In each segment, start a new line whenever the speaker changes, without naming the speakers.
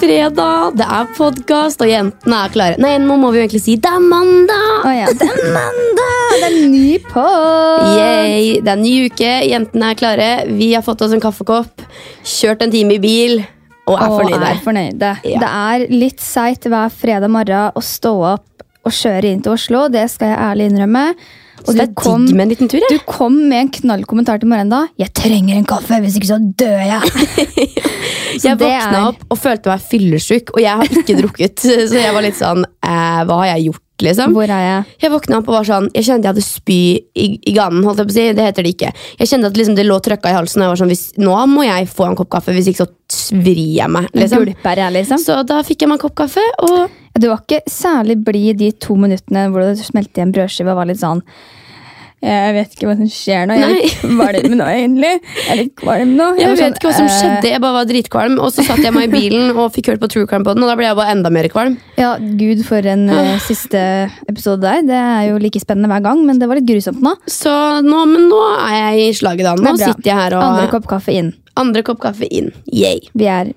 fredag, det er podkast, og jentene er klare. Nei, nå må vi jo egentlig si det er mandag!
Å ja, det er mandag! Det er en ny pod!
Yay, det er en ny uke, jentene er klare. Vi har fått oss en kaffekopp, kjørt en time i bil og er
Og
fornøyde.
er fornøyde.
Ja.
Det er litt seigt hver fredag morgen å stå opp og kjøre inn til Oslo. Det skal jeg ærlig innrømme.
Så
Og
det er digg med en liten tur.
du
Jeg.
kom med en knallkommentar til Morenda. 'Jeg trenger en kaffe, hvis ikke så dør jeg'.
jeg
det
våkna
er-
opp og følte meg fyllesyk, og jeg har ikke drukket. Så jeg var litt sånn eh, Hva har jeg gjort, liksom?
Hvor er jeg?
Jeg våkna opp og var sånn Jeg kjente jeg hadde spy i, i ganen. holdt jeg på å si, Det heter det ikke. Jeg kjente at liksom det lå trøkka i halsen. Og jeg var sånn, hvis, Nå må jeg få en kopp kaffe, hvis ikke så svrir jeg meg. Liksom.
Gulper jeg, liksom?
Så da fikk jeg meg en kopp kaffe, og
Du var ikke særlig blid de to minuttene hvor du smelte i en brødskive og var litt sånn jeg vet ikke hva som skjer nå. Jeg er litt kvalm nå, egentlig. Jeg er litt kvalm nå. Jeg
jeg
var
vet
sånn,
ikke hva som
eh,
skjedde. Jeg bare var dritkvalm. Og så satt jeg meg i bilen og fikk hørt på True Crime Podden, og da ble jeg bare enda mer kvalm.
Ja, Gud, for en eh, siste episode der. Det er jo like spennende hver gang, men det var litt grusomt nå.
Så nå, men nå er jeg i slaget, da. Nå
Det er bra.
sitter jeg her og
Andre kopp kaffe inn.
andre kopp kaffe inn. Yay.
Vi er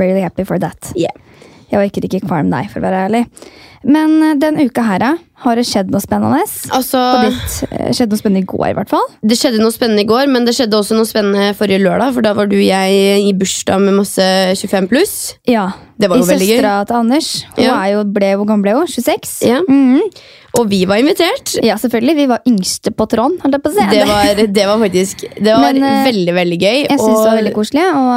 really happy for that.
Yeah.
Jeg var ikke like kvalm deg, for å være ærlig. Men eh, den uka her, eh, har det skjedd noe spennende?
Altså,
På ditt, eh, skjedde noe spennende i går, i hvert fall.
Det skjedde noe spennende i går, men det skjedde også noe spennende forrige lørdag. For da var du og jeg i bursdag med masse 25 pluss.
Ja.
Det var jo veldig gøy.
Søstera til Anders. Hun
Ja.
er jo, ble, hvor gammel ble hun? 26? Mhm.
Ja. Og vi var invitert.
Ja, selvfølgelig. Vi var yngste på Trond. Holdt jeg på å si.
Det var, det var faktisk Det var
Men, eh,
veldig, veldig gøy.
jeg syns det var veldig koselig. Og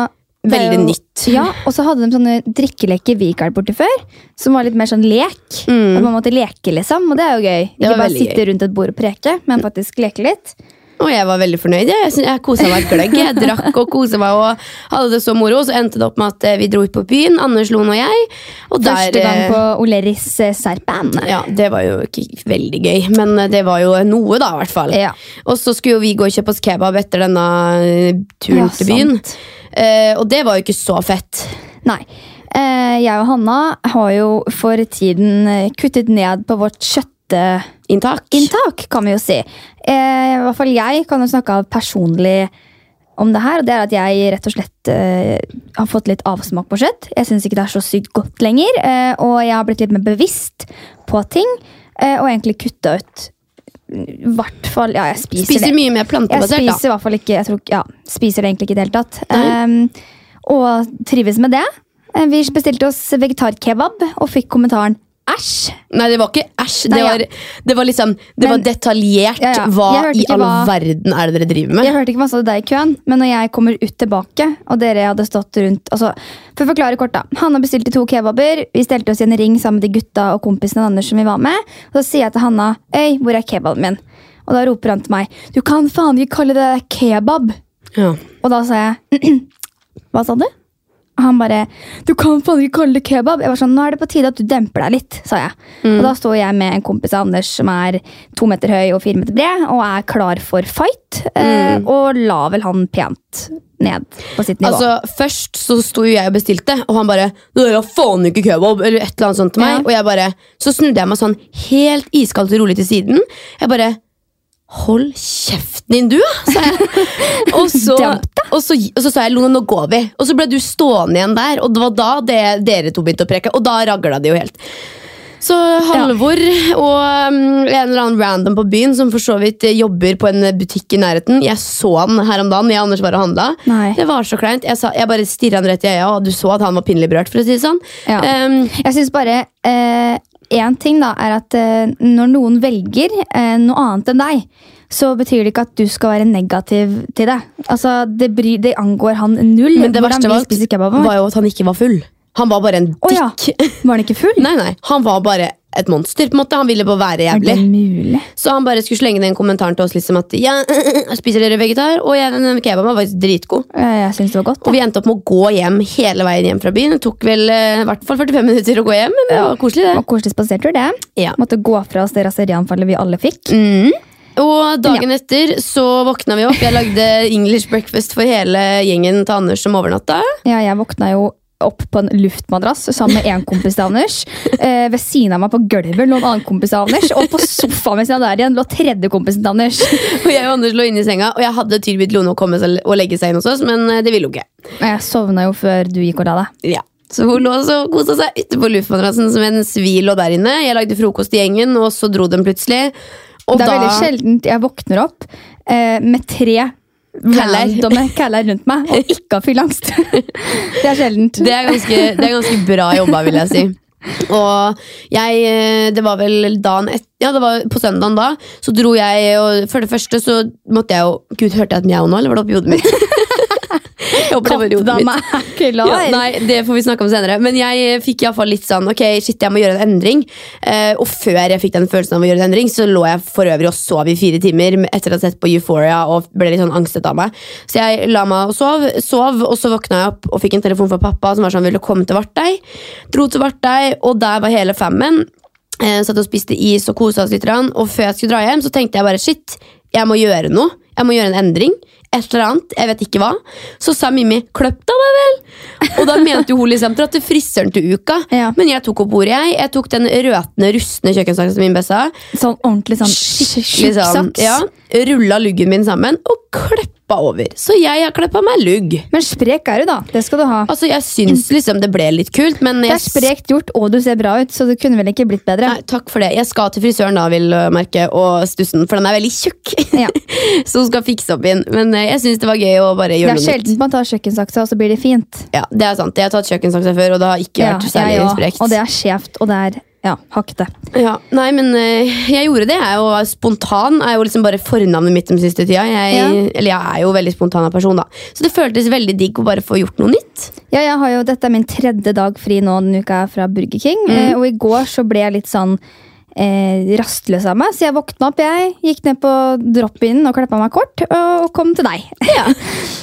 det er
veldig
jo-
nytt.
Ja, Og så hadde de sånne drikkeleker vi ikke har vært borti før. Som var litt mer sånn lek. At man måtte leke, liksom. Og det er jo gøy.
Mm. var
Ikke bare
veldig
sitte rundt et bord og preke, men faktisk leke litt.
Og jeg var veldig fornøyd. Jeg, synes- jeg kosa meg gløgg. Jeg drakk og kosa meg og hadde det så moro. Så endte det opp med at eh, vi dro ut på byen, Anders, Lone og jeg. Og
Første
der,
gang
eh,
på Oleris eh, Serpan.
Ja, Det var jo ikke veldig gøy, men eh, det var jo noe, da, i hvert fall.
Ja.
Og så skulle jo vi gå og kjøpe oss kebab etter denne eh, turen
Ja,
til byen.
sant.
Eh, og det var jo ikke så fett.
Nei. Eh, Jeg og Hanna har jo for tiden eh, kuttet ned på vårt kjøtte...
Inntak.
inntak, kan vi jo si. Eh, I hvert fall jeg kan jo snakke av personlig om det her. Og det er at jeg rett og slett eh, har fått litt avsmak på kjøtt. Jeg syns ikke det er så sykt godt lenger. Eh, og jeg har blitt litt mer bevisst på ting. Eh, og egentlig kutta ut i hvert fall Ja, jeg spiser,
Spiser
det.
mye mer
Jeg
plantebasert, da.
spiser i hvert fall ikke jeg tror, ikke- Ja, spiser det egentlig ikke i det hele tatt. Eh, og trives med det. Eh, Vi bestilte oss vegetarkebab og fikk kommentaren 'æsj'.
Nei, det var ikke æsj.
Nei,
Det
ja.
var, det var liksom Det var
Men-
detaljert.
Ja, ja.
Hva
Jeg hørte
i
ikke
all
hva-
verden er det dere driver med?
Jeg hørte ikke masse av deg i køen, men når jeg kommer ut tilbake og dere hadde stått rundt altså, For å forklare kort, da. Hanna bestilte to kebaber. Vi stelte oss i en ring sammen med de gutta og kompisene og Anders som vi var med. Og så sier jeg til Hanna Øy, hvor er kebaben min? Og da roper han til meg Du kan faen ikke kalle det der kebab.
Ja.
Og da sa jeg Hva sa du? Og han bare Du kan faen ikke kalle det kebab. Jeg var sånn, Nå er det på tide at du demper deg litt, sa jeg.
Mm.
Og da står jeg med en kompis av Anders som er to meter høy og fire meter bred, og er klar for fight. eh, og la vel han pent ned på sitt
Mm.
nivå.
Altså, Først så sto jo jeg og bestilte, og han bare «Nei, jeg har faen ikke kebab Eller et eller annet sånt til meg
Ja.
Og jeg bare, Så snudde jeg meg sånn helt iskaldt og rolig til siden. Jeg bare Hold kjeften din, du, da», sa jeg. Og så,
Damp
og så, og så sa jeg Lone, nå går vi. Og så ble du stående igjen der, og det var da det, dere to begynte å preke. Og da ragla det jo helt. Så Halvor og um, en eller annen random på byen som for så vidt eh, jobber på en butikk i nærheten. Jeg så han her om dagen. Jeg og Anders var og handla.
Nei.
Det var så kleint. Jeg, sa, jeg bare stirra han rett i øya, og du så at han var pinlig berørt. for å si det sånn.
Ja.
Ehm,
Jeg syns bare én ting da, er at eh, når noen velger eh, noe annet enn deg, så betyr det ikke at du skal være negativ til det. Altså, Det, bry, det angår han null.
men det
hvordan
verste
vi
var,
spiser kebaben vår.
var jo at han ikke var full. Han var bare en
Å ja.
dikk.
Var han ikke full?
Nei, nei, Han var bare et monster. på en måte. Han ville bare være
Er det
jævlig.
mulig?
Så han bare skulle slenge den kommentaren til oss liksom at ja, spiser dere vegetar? Og ja, den kebaben var faktisk dritgod.
Eh, Jeg syns det var godt.
Og vi endte opp med å gå hjem hele veien hjem fra byen. Det tok vel eh, i hvert fall 45 minutter å gå hjem, men det var koselig,
Det
det.
var koselig spasertur, det.
Ja. Mm.
Måtte gå fra oss det raserianfallet vi alle fikk.
Og dagen etter så våkna vi opp. Jeg lagde English breakfast for hele gjengen til Anders som overnatta.
Ja, jeg våkna jo opp på en luftmadrass sammen med en kompis til Anders. Eh, ved siden av meg på gulvet lå en annen kompis til Anders, og på sofaen ved siden av der igjen lå tredje kompisen til Anders.
Og jeg og Anders lå inne i senga, og jeg hadde tilbudt Lone å komme seg- og legge seg inn hos oss, men eh, det ville hun ikke.
Og Jeg sovna jo før du gikk og la deg.
Ja. Så hun lå og kosa seg ute på luftmadrassen som en svil lå der inne. Jeg lagde frokost i gjengen, og så dro den plutselig. Og
Det er
da
veldig sjeldent jeg våkner opp eh, med tre
Kæller.
randomme kæller rundt meg og ikke har fylleangst. det er sjeldent.
Det er ganske, det er ganske bra jobba, vil jeg si. Og jeg, eh, det var vel dagen et, Ja, det var på søndagen da. Så dro jeg, og for det første så måtte jeg jo Gud, hørte jeg et mjau nå, eller var det oppi hodet mitt? Jeg håper det var i hodet mitt.
Kattedama er klar.
Ja, nei, det får vi snakke om senere. Men jeg fikk i hvert fall litt sånn Ok, shit, jeg må gjøre en endring. Eh, og før jeg fikk den følelsen av å gjøre en endring, så lå jeg for øvrig og sov i fire timer med- etter å ha sett på Euphoria og ble litt sånn angstet av meg. Så jeg la meg og sov, sov og så våkna jeg opp og fikk en telefon fra pappa som var sånn Vil du komme til Vartei? Dro til Vartei, og der var hele fammen. Eh, satt og spiste is og kosa oss litt. grann, Og før jeg skulle dra hjem, så tenkte jeg bare shit, jeg må gjøre noe. Jeg må gjøre en endring. Et eller annet. Jeg vet ikke hva. Så sa Mimmi 'kløpp deg, da vel'. Og da mente jo hun liksom dra til frisøren til uka.
Ja.
Men jeg tok opp ordet, jeg. Jeg tok den røtne, rustne kjøkkensaksa som min besta.
Sånn ordentlig sånn skikkelig sånn
Liksom,
saks.
ja, Rulla luggen min sammen og kleppa over. Så jeg har kleppa meg lugg.
Men sprek er du, da. Det skal du ha.
Altså, Jeg syns liksom det ble litt kult, men
Det
jeg
er sprekt gjort, og du ser bra ut, så det kunne vel ikke blitt bedre.
Nei, takk for det. Jeg skal til frisøren da, vil jeg merke, og stussen, for den er veldig tjukk.
Ja.
Så hun skal fikse opp igjen. Men eh, jeg syns det var gøy å bare
Det
gjøre
er
noe nytt.
sjelden man tar kjøkkensaksa, og så blir det fint.
Ja, det er sant. Jeg har tatt kjøkkensaksa før, og det har ikke
Ja,
vært særlig
jeg òg.
sprekt.
Og det er skjevt, og det er ja, hakkete.
Ja, nei, men eh, jeg gjorde det. Jeg er jo spontan. Jeg er jo liksom bare fornavnet mitt den siste tida. Jeg,
Ja.
Eller jeg er jo veldig spontan av person, da. Så det føltes veldig digg å bare få gjort noe nytt.
Ja, jeg har jo, dette er min tredje dag fri nå denne uka fra Burger King.
Mm.
Eh, og i går så ble jeg litt sånn eh, rastløs av meg, så jeg våkna opp. Jeg gikk ned på drop-in og klippa meg kort, og kom til deg.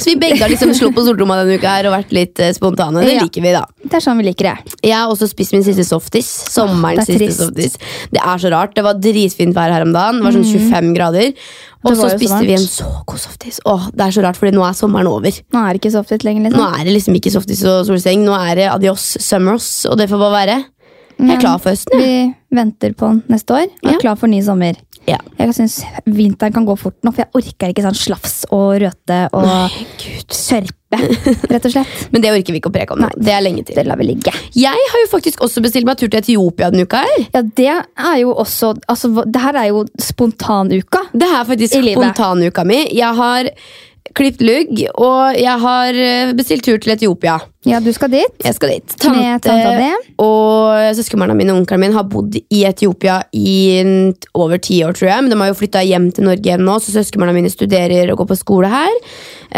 Så vi begge har liksom slått på stortromma denne uka her og vært litt eh, spontane. Det
Ja.
liker vi, da.
Det er sånn vi liker det.
Jeg har også spist min siste softis. Sommerens
det
siste
er trist.
softis. Det er så rart. Det var dritfint vær her om dagen. Det var sånn 25 grader. Og
Mm. Det var
så
jo så
spiste
varmt.
vi en så god softis. Åh, det er så rart, fordi nå er sommeren over.
Nå er det ikke så ofte
Nå
lenger. Liksom.
er det liksom ikke softis og solseng. Nå er det adios summers, og det får bare være. Jeg
Men
er klar for høsten. jeg.
Vi venter på den neste år og er
Ja.
klar for ny sommer.
Ja.
Jeg syns vinteren kan gå fort nå, for jeg orker ikke sånn slafs og røte og sørpe, rett og slett.
Men det orker vi ikke å preke om. nå.
Nei.
Det er lenge til.
Det lar vi ligge.
Jeg har jo faktisk også bestilt meg tur til Etiopia denne uka. her.
Ja, det er jo også altså, hva- Det her er jo spontanuka.
Det her er faktisk
I livet.
spontanuka mi. Jeg har klippet lugg, og jeg har eh, bestilt tur til Etiopia.
Ja, du skal dit.
Jeg skal dit.
Med tanta di.
og søskenbarna mine og onkelen min har bodd i Etiopia i en- over ti år, tror jeg. Men de har jo flytta hjem til Norge igjen nå, så søskenbarna mine studerer og går på skole her.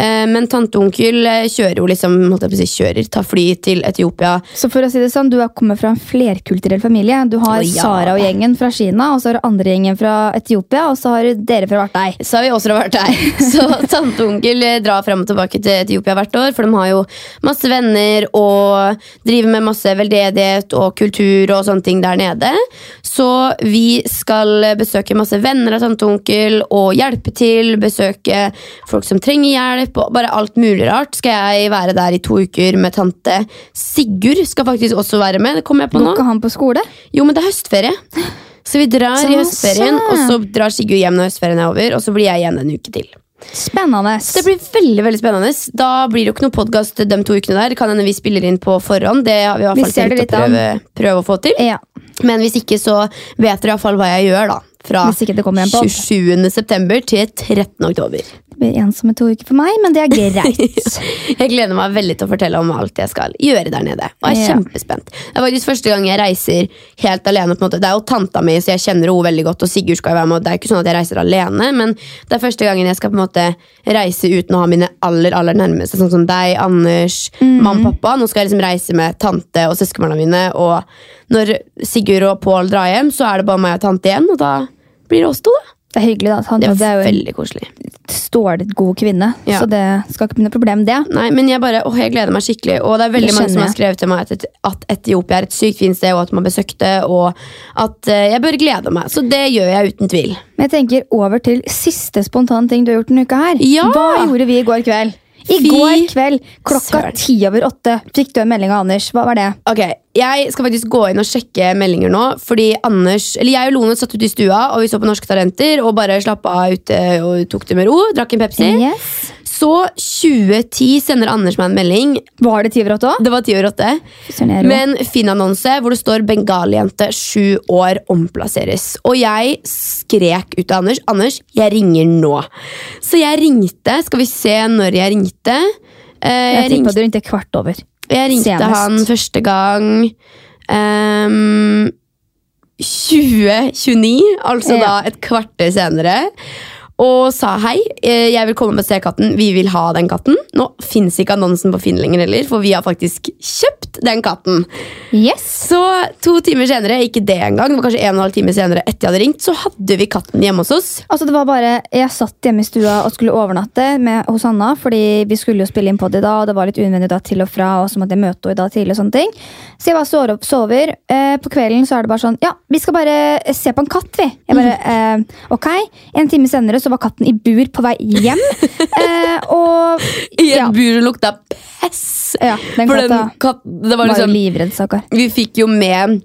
Eh, Men tante og onkel eh, kjører jo liksom, holdt jeg på å si, kjører, tar fly til Etiopia.
Så for å si det sånn, Du er- kommer fra en flerkulturell familie. Du har
Å, ja.
Sara og gjengen fra Kina, og så har du andre gjengen fra Etiopia, og så har du dere fra hvert deg.
Så har vi også vært der. Så tante og onkel eh, drar fram og tilbake til Etiopia hvert år, for de har jo masse venner og driver med masse veldedighet og kultur og sånne ting der nede. Så vi skal besøke masse venner av tante og onkel og hjelpe til, besøke folk som trenger hjelp, og bare alt mulig rart skal jeg være der i to uker med tante. Sigurd skal faktisk også være med, det kommer jeg på nå.
Booka han på skole?
Jo, men det er høstferie. Så vi drar
Så
i høstferien,
søren.
og så drar Sigurd hjem når høstferien er over. Og så blir jeg igjen en uke til.
Spennende.
Så det blir veldig veldig spennende. Da blir det jo ikke noe podkast de to ukene der. Kan hende vi spiller inn på forhånd. Det har vi i hvert
Vi
fall
ser det
tenkt å
litt an.
prøve, prøve å få til.
ja,
Men hvis ikke, så vet dere i hvert fall hva jeg gjør, da. Fra
Hvis ikke det kommer en podd.
27. september til 13. oktober.
det blir ensomme to uker for meg, men det er greit.
Jeg gleder meg veldig til å fortelle om alt jeg skal gjøre der nede. Og jeg er
Ja.
kjempespent. Det er faktisk første gang jeg reiser helt alene. på en måte. Det er jo tanta mi, så jeg kjenner henne veldig godt, og Sigurd skal jo være med. og Det er ikke sånn at jeg reiser alene, men det er første gangen jeg skal på en måte reise uten å ha mine aller aller nærmeste, sånn som deg, Anders,
Mhm.
mamma og pappa. Nå skal jeg liksom reise med tante og søskenbarna mine, og når Sigurd og Pål drar hjem, så er det bare meg og tante igjen, og da blir det oss to, da.
Det er hyggelig, da. Han,
Det
det
er,
er jo en
veldig koselig.
stålgod kvinne,
Ja.
så det skal ikke bli noe problem, det.
Nei, men jeg bare, åh, jeg gleder meg skikkelig. Og det er veldig
Det
mange som
skjønner
har skrevet til meg at, at Etiopia er et sykt fint sted, og at man besøkte, og at eh, jeg bør glede meg. Så det gjør jeg uten tvil.
Men jeg tenker over til siste spontane ting du har gjort denne uka her.
Ja!
Hva gjorde vi i går kveld? I
Fy
går kveld klokka
søren.
ti over åtte fikk du en melding av Anders. Hva var det?
Ok, Jeg skal faktisk gå inn og sjekke meldinger nå. Fordi Anders, eller Jeg og Lone satt ute i stua og vi så på Norske Talenter og bare slappa av ute og tok det med ro. Drakk en Pepsi.
Yes.
Så 2010 sender Anders meg en melding.
Var det tyverått òg?
Det var ti over åtte. Men finn annonse hvor det står 'Bengalijente sju år omplasseres'. Og jeg skrek ut til Anders. 'Anders, jeg ringer nå'. Så jeg ringte. Skal vi se når jeg ringte? Eh,
Jeg
jeg,
tippa
ringte
du ringte kvart over.
jeg ringte
senest.
han første gang ehm, 2029, altså
Ja.
da et kvarter senere. Og sa hei, eh, jeg vil komme og se katten. Vi vil ha den katten. Nå fins ikke annonsen på Finn lenger heller, for vi har faktisk kjøpt den katten.
Yes!
Så to timer senere, ikke det engang, det var kanskje en og en halv time senere etter jeg hadde ringt, så hadde vi katten hjemme hos oss.
Altså det var bare, Jeg satt hjemme i stua og skulle overnatte med, hos Anna. fordi vi skulle jo spille inn podi da, og det var litt unødvendig da til og fra. og Så måtte jeg møte henne i dag tidlig og sånne ting. Så jeg bare sover. opp, sover. Eh, på kvelden så er det bare sånn Ja, vi skal bare eh, se på en katt, vi. Jeg bare,
Mm.
eh, ok. En time senere så var katten i bur på vei hjem. eh, og
I et
Ja.
bur som lukta pess.
ja, den
For den
katta
katten, det var
var jo
liksom
livredd, stakkar.
Vi fikk jo med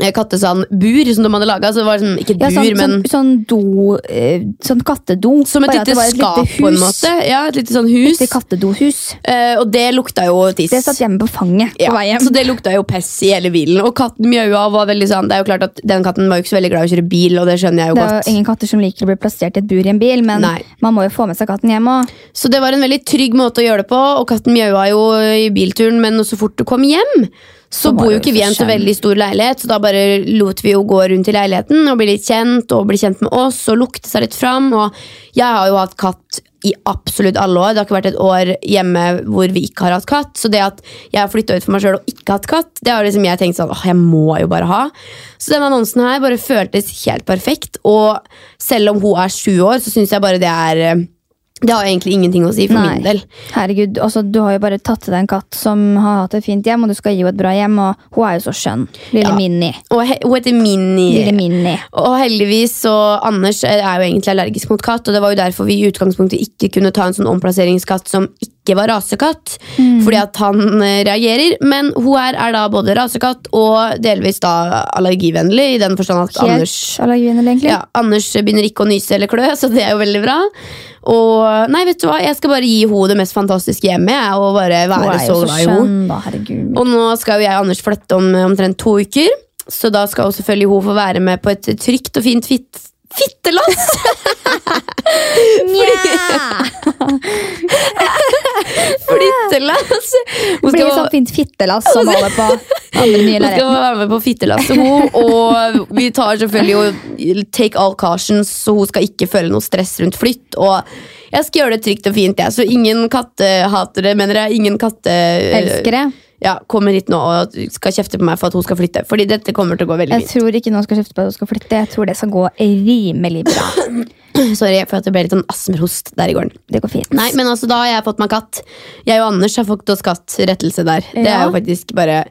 eh, kattesandbur som de hadde laga, så det var sånn, ikke bur,
Ja, sånn,
men
sånn, sånn do eh, Sånn kattedo.
som et
Bare at
lite
det var
skap,
lite
på en
hus.
måte. Ja, et lite sånn hus.
Lite kattedohus.
Eh, og det lukta jo tiss.
Det satt hjemme på fanget
Ja,
på vei hjem.
Så det lukta jo pess i hele bilen. Og katten mjaua var veldig sånn Det er jo klart at den katten var jo ikke så veldig glad i å kjøre bil, og det skjønner jeg jo
Det er
godt.
jo ingen katter som liker å bli plassert i et bur i en bil, men
Nei.
man må jo få med seg katten hjem òg.
Så det var en veldig trygg måte å gjøre det på, og katten mjaua jo i bilturen, men så fort du kom hjem, så
Så var
bor jo
det jo
ikke vi i en
for
så veldig stor leilighet, så da bare lot vi jo gå rundt i leiligheten og bli litt kjent, og bli kjent med oss, og lukte seg litt fram, og jeg har jo hatt katt i absolutt alle år. Det har ikke vært et år hjemme hvor vi ikke har hatt katt, så det at jeg har flytta ut for meg sjøl og ikke hatt katt, det har liksom jeg tenkt sånn, åh, jeg må jo bare ha. Så denne annonsen her bare føltes helt perfekt, og selv om hun er sju år, så syns jeg bare det er eh, det har egentlig ingenting å si for
Nei.
min del.
Herregud, altså, du har jo bare tatt til deg en katt som har hatt et fint hjem, og du skal gi henne et bra hjem, og hun er jo så skjønn. Lille
Ja.
Minnie.
Og he hun heter Minnie.
Lille Minnie.
Og heldigvis så Anders er jo egentlig allergisk mot katt, og det var jo derfor vi i utgangspunktet ikke kunne ta en sånn omplasseringskatt som ikke var rasekatt,
Mm.
fordi at han eh, reagerer. Men hun her er da både rasekatt og delvis da allergivennlig, i den forstand at
Helt
Anders
allergivinnel, egentlig.
ja, Anders begynner ikke å nyse eller klø, så det er jo veldig bra. Og nei, vet du hva, jeg skal bare gi henne det mest fantastiske hjemmet, jeg, og bare
hun
være så
er jo så
glad i henne.
skjønn, da. Herregud.
Og nå skal jo jeg og Anders flytte om eh, omtrent to uker, så da skal jo selvfølgelig hun få være med på et trygt og fint fitt fittelass!
Nja!
Flyttelass! Hun
Blir
skal,
sånn fint fittelass som holder på andre nye
hun skal
lerreter.
være med på fittelasset, hun. Og vi tar selvfølgelig og take all cautions, så hun skal ikke føle noe stress rundt flytt. Og jeg skal gjøre det trygt og fint, jeg. Så ingen kattehatere, mener jeg. Ingen katte... eh,
Elskere.
Ja, kommer hit nå og skal kjefte på meg for at hun skal flytte. Fordi dette kommer til å gå veldig
Jeg
fint.
tror ikke noen skal skifte på at hun skal flytte. Jeg tror det skal gå rimelig bra.
Sorry for at det ble litt sånn astmerhost der i gården.
Det går fint.
Nei, men altså da har jeg fått meg katt. Jeg og Anders har fått oss katt. Rettelse der. Det er
Ja.
jo faktisk bare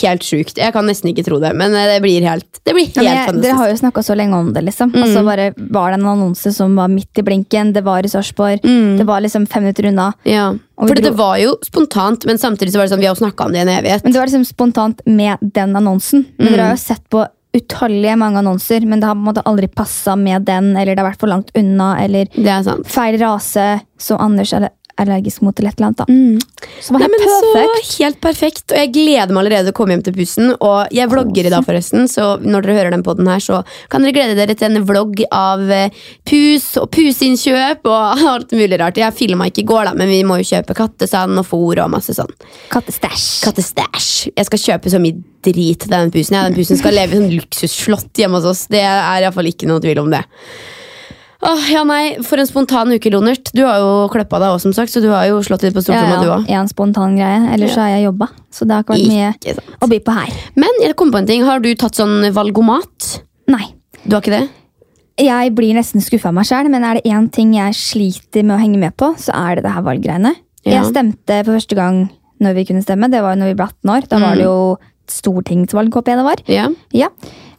helt sjukt. Jeg kan nesten ikke tro det, men eh, det blir helt, det blir helt
Ja, men jeg, dere
fantastisk. Mm.
har jo snakka så lenge om det. liksom Og så bare var det en annonse som var midt i blinken. Det var i Sarpsborg.
Mm.
Det var liksom fem minutter unna.
Ja.
Og vi
For
dro-
det var jo spontant, men samtidig så var det sånn, vi har jo snakka om det i en evighet.
Men det var liksom spontant med den annonsen. Men Dere
Mm.
har jo sett på utallige mange annonser, men det har på en måte aldri passa med den, eller det har vært for langt unna, eller
Det er sant.
feil rase, så Anders er allergisk mot eller et eller annet. da Så det var
Mm. Nei, men
helt perfekt.
så helt perfekt, og jeg gleder meg allerede til å komme hjem til bussen. Og jeg vlogger i dag, forresten, så når dere hører den podden her, så kan dere glede dere til en vlogg av eh, pus og puseinnkjøp og alt mulig rart. Jeg filma ikke i går, da, men vi må jo kjøpe kattesand og fôr og masse sånn.
Kattestæsj.
Kattestæsj. Jeg skal kjøpe så mye drit til den pusen. Ja, den pusen skal leve i sånn luksusslott hjemme hos oss. Det er iallfall ikke noe tvil om det. Åh, ja nei, For en spontan uke, Lonert. Du har jo kløppa deg òg, som sagt. Så du har jo slått litt på stortromma, du òg.
ja, en spontan greie. Ellers så har jeg jobba, så det har ikke vært mye
Ikke sant.
å by på her.
Men jeg kom på en ting. Har du tatt sånn valgomat?
Nei.
Du har ikke det?
Jeg blir nesten skuffa av meg sjøl, men er det én ting jeg sliter med å henge med på, så er det det her valggreiene.
Ja.
Jeg stemte for første gang når vi kunne stemme. Det var jo når vi ble 18 år. Da
Mm.
var det jo stortingsvalg, håper jeg det var.
Ja.
Ja.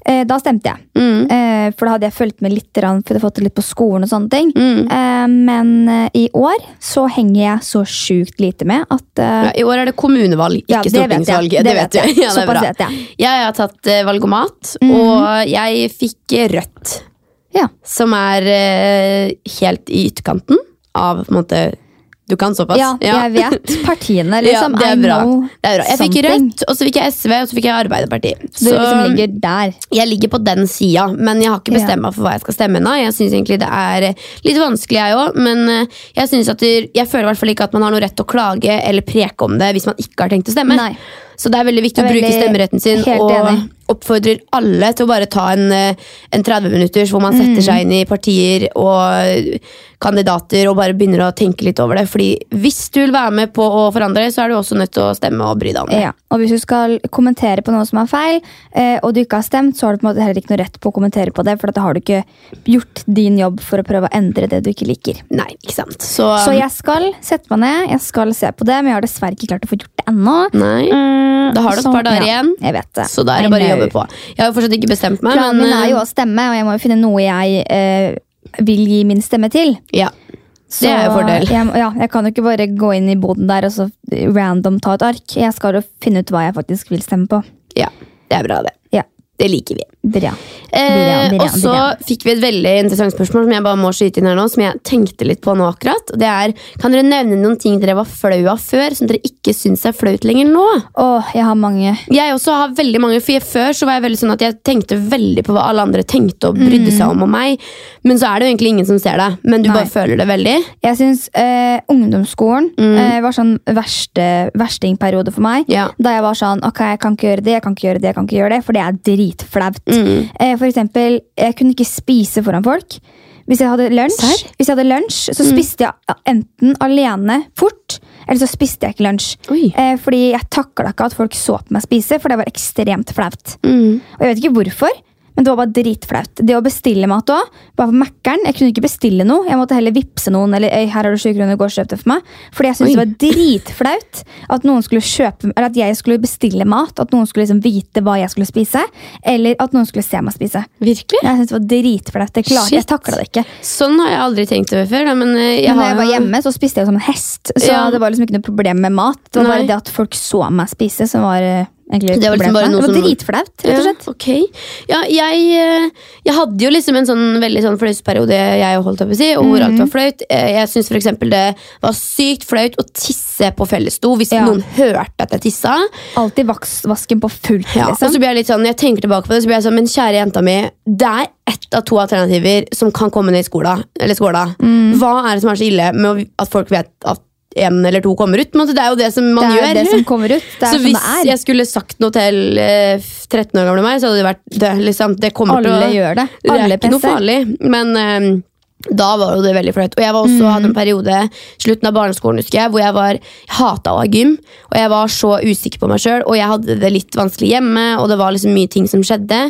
Eh, da stemte jeg.
Mm.
Eh, for da hadde jeg fulgt med litt, grann, for jeg hadde fått det litt på skolen og sånne ting.
Mm.
Eh, men eh, i år så henger jeg så sjukt lite med at eh,
Ja, I år er det kommunevalg, ikke
Ja, det vet jeg.
stortingsvalg.
Det
Det
vet
vet jeg.
jeg.
Ja, det er
Såpass
bra.
vet jeg. Mhm.
Jeg har tatt eh, valgomat, og jeg fikk eh, rødt.
ja.
som er eh, helt i ytterkanten av på en måte, Du kan såpass?
Ja, jeg vet partiene,
Ja,
liksom.
det er
I
bra.
know
Det er bra. Jeg fikk
something.
Rødt, og så fikk jeg SV, og så fikk jeg Arbeiderpartiet.
Du
Så
liksom ligger der.
jeg ligger på den sida, men jeg har ikke bestemt meg for hva jeg skal stemme ennå. Jeg syns egentlig det er eh, litt vanskelig, jeg òg, men eh, jeg, synes at det, jeg føler i hvert fall ikke at man har noe rett til å klage eller preke om det hvis man ikke har tenkt å stemme.
Nei.
Så det er veldig viktig
Jeg er
å bruke
veldig-
stemmeretten sin,
helt
og
enig.
oppfordrer alle til å bare ta en, eh, en 30 minutters hvor man
Mm.
setter seg inn i partier og eh, kandidater og bare begynner å tenke litt over det. Fordi hvis du vil være med på å forandre, så er du også nødt til å stemme og bry deg om det.
Ja. Og hvis du skal kommentere på noe som er feil, eh, og du ikke har stemt, så har du på en måte heller ikke noe rett på å kommentere på det, for da har du ikke gjort din jobb for å prøve å endre det du ikke liker.
Nei, ikke sant. Så,
Så jeg skal sette meg ned, jeg skal se på det, men jeg har dessverre ikke klart å få gjort det ennå.
Nei.
Mm,
Da har du et
så-
par dager
ja,
igjen.
Jeg vet det.
Så da er
I
det bare å
know.
jobbe på. Jeg har jo fortsatt ikke bestemt meg,
Planen
men eh,
min er jo å stemme, og jeg må jo finne noe jeg eh, vil gi min stemme til.
eh, ja. Det er jo
Så
fordel.
Jeg, ja, jeg kan jo ikke bare gå inn i boden der og så random ta et ark. Jeg skal jo finne ut hva jeg faktisk vil stemme på.
ja. Det er bra, det.
Ja,
Det liker vi.
Bra.
Eh,
Bra, bra,
og så
bra.
fikk vi et veldig interessant spørsmål som jeg bare må skyte inn her nå, som jeg tenkte litt på nå akkurat. Og det er, Kan dere nevne noen ting dere var flau av før, som dere ikke syns er flaut lenger nå?
Åh, jeg har mange.
Jeg også har veldig mange, for jeg, Før så var jeg veldig sånn at jeg tenkte veldig på hva alle andre tenkte og brydde seg om om meg. Men så er det jo egentlig ingen som ser deg, men du
Nei.
bare føler det veldig.
Jeg syns eh, ungdomsskolen eh, var sånn verste, verstingperiode for meg.
Mm. Ja.
Da jeg var sånn Ok, jeg kan ikke gjøre det, jeg kan ikke gjøre det, jeg kan ikke gjøre det. For det er dritflaut.
Mm.
Eh, for eksempel, jeg kunne ikke spise foran folk. Hvis jeg hadde lunsj,
Serr? Mm.
hvis jeg hadde lunsj så spiste jeg enten alene fort, eller så spiste jeg ikke lunsj.
Oi.
Eh, fordi jeg takla ikke at folk så på meg spise, for det var ekstremt flaut. Og jeg vet ikke hvorfor, men det var bare dritflaut. Det å bestille mat òg, bare på Mækkern. Jeg kunne ikke bestille noe. Jeg måtte heller vippse noen, eller «Øy, her har du 20 kroner, gå og kjøp det for meg. Fordi jeg syntes
Oi.
det var dritflaut at noen skulle kjøpe, eller at jeg skulle bestille mat. At noen skulle liksom vite hva jeg skulle spise, eller at noen skulle se meg spise.
Virkelig?
Jeg syntes det var dritflaut. Jeg, klarte- jeg
Shit.
takla det ikke.
Sånn har jeg aldri tenkt over før. Da, men eh, jeg
Men
har
når jeg var
jo-
hjemme, så spiste jeg jo som en hest. Så
Ja.
det var liksom ikke noe problem med mat. Det var
Nei.
bare det at folk så meg spise, som var eh, egentlig
Det var liksom
problemet.
bare noe
det var
som-
dritflaut, rett og slett.
Ja, ok. ja jeg, eh, jeg hadde jo liksom en sånn veldig sånn flausperiode jeg holdt opp å si, og hvor
Mhm.
alt var flaut. Eh, Jeg syns f.eks. det var sykt flaut å tisse på fellesdo hvis
Ja.
noen hørte at jeg tissa.
Alltid vaks, vasken på fullt,
Ja, Og så
liksom.
blir jeg litt sånn, jeg tenker tilbake på det, så blir jeg sånn, men kjære jenta mi, det er ett av to alternativer som kan komme ned i skola. Eller skåla.
Mhm.
Hva er det som er så ille med å- at folk vet at en eller to kommer ut? Men det er jo det som man
det er
gjør.
det som kommer ut. Det er
så
sånn
hvis
det er.
jeg skulle sagt noe til eh, 13 år gamle meg, så hadde det vært det. Liksom, det kommer til å...
Alle gjør det.
det
Alle
er ikke noe
presser.
farlig, men eh, da var jo det veldig flaut. Og jeg var også,
Mhm.
hadde en periode slutten av barneskolen husker jeg, hvor jeg var jeg hata å ha gym. Og jeg var så usikker på meg sjøl, og jeg hadde det litt vanskelig hjemme. Og det var liksom mye ting som skjedde.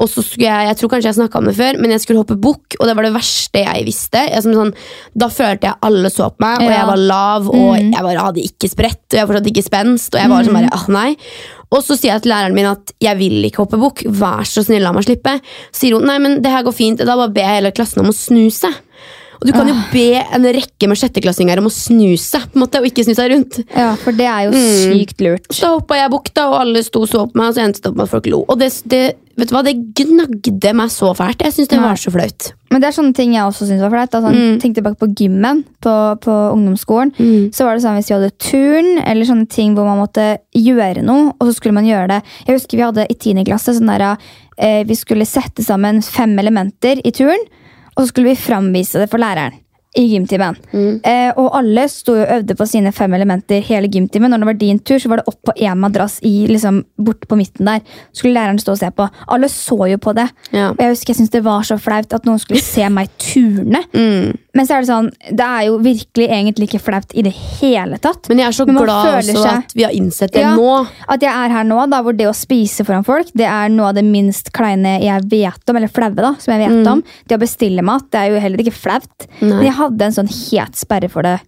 Og så skulle jeg jeg tror kanskje jeg snakket om det før, men jeg skulle hoppe bukk, og det var det verste jeg visste. Jeg, som sånn, da følte jeg alle så på meg, og
Ja.
jeg var lav, og
Mm.
jeg bare hadde ikke spredt, og jeg fortsatt ikke spenst, og jeg var sånn bare, ah nei. Og så sier jeg til læreren min at jeg vil ikke hoppe bukk, vær så snill la meg slippe. Så sier hun, nei, men det her går fint, da bare ber jeg hele klassen om å snu seg. Og du kan jo be en rekke med sjetteklassinger om å snu seg, på en måte, og ikke snu seg rundt.
Ja, for det er jo
Mm.
sykt lurt.
Så hoppa jeg bukk, da, og alle sto og så på meg, og så endte det opp med at folk lo. Og det, det, vet du hva, det gnagde meg så fælt. Jeg syns det
Nei.
var så flaut.
Men det er sånne ting jeg også syns var flaut. Altså, Tenk tilbake på gymmen på, på ungdomsskolen. Så var det sånn Hvis vi hadde turn, eller sånne ting hvor man måtte gjøre noe, og så skulle man gjøre det Jeg husker vi hadde i 10. klasse sånn der, eh, Vi skulle sette sammen fem elementer i turn, og så skulle vi framvise det for læreren. I gymtimen. Eh, og alle sto og øvde på sine fem elementer hele gymtimen. Når det var din tur, så var det opp på én madrass i, liksom, borte på midten der. Skulle læreren stå og se på. Alle så jo på det.
Ja.
Og jeg husker jeg syntes det var så flaut at noen skulle se meg turne.
Mm.
Men så er det sånn, det er jo virkelig egentlig ikke flaut i det hele tatt.
Men jeg er så
Men man
glad
føler
også
seg-
at vi har innsett det
Ja.
nå.
At jeg er her nå, da, hvor det å spise foran folk det er noe av det minst kleine jeg vet om. eller flaue da, som jeg vet
Mm.
om. Det å bestille mat det er jo heller ikke flaut. Men jeg hadde en sånn helt sperre for det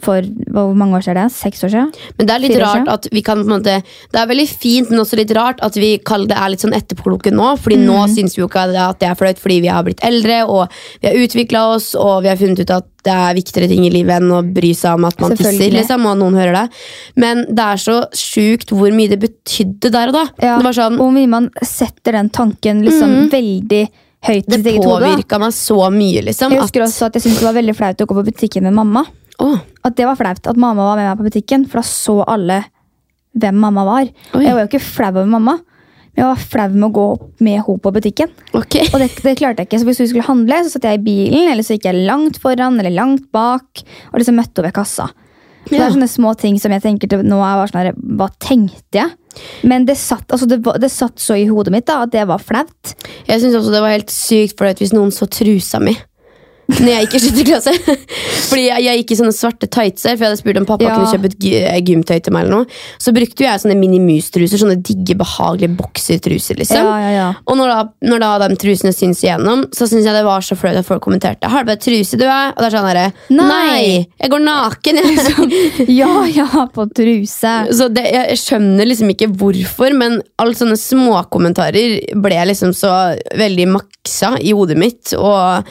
for hvor mange år siden? er det? Seks år siden?
Men det er litt
Fire år
rart
siden.
at vi kan på en måte Det er veldig fint, men også litt rart at vi kaller det er litt sånn etterpåkloke nå. Fordi nå
Mhm.
syns vi jo ikke at det er flaut fordi vi har blitt eldre, og vi har utvikla oss, og vi har funnet ut at det er viktigere ting i livet enn å bry seg om at man tisser,
Selvfølgelig.
liksom, og noen hører det. Men det er så sjukt hvor mye det betydde der og da.
Ja,
Det var sånn Mm.
og hvor mye man setter den tanken liksom veldig høyt i sitt
Det
eget hode. da.
påvirka meg så mye, liksom.
Jeg husker
at-
også at jeg syntes det var veldig flaut å gå på butikken med mamma.
Åh,
At det var flaut at mamma var med meg på butikken, for da så alle hvem mamma var.
Oi.
Jeg var jo ikke flau over mamma, men jeg var flau med å gå med henne på butikken.
ok.
Og det, det klarte jeg ikke, så Hvis vi skulle handle, så satt jeg i bilen, eller så gikk jeg langt foran eller langt bak. Og liksom møtte henne ved kassa. Så Det
Ja.
er sånne små ting som jeg tenker til nå er jeg bare sånn her, Hva tenkte jeg? Men det satt, altså det, var- det satt så i hodet mitt da, at det var flaut.
Jeg synes også det var helt sykt flaut hvis noen så trusa mi. Når jeg gikk i sjette klasse. Fordi jeg, jeg gikk i sånne svarte tightser, for jeg hadde spurt om pappa
Ja.
kunne kjøpe et gy- eh, gymtøy til meg. eller noe Så brukte jo jeg sånne minimus-truser, sånne digge, behagelige boksertruser. liksom
Ja, ja, ja.
Og når da, når da de trusene syns igjennom, så syns jeg det var så flaut at folk kommenterte. Har du på deg truse, du, er? Og det er sånn herre
Nei.
Nei! Jeg går naken, jeg. liksom.»
Ja, ja, på truse.
Så det, jeg jeg skjønner liksom ikke hvorfor, men alle sånne småkommentarer ble liksom så veldig maksa i hodet mitt. Og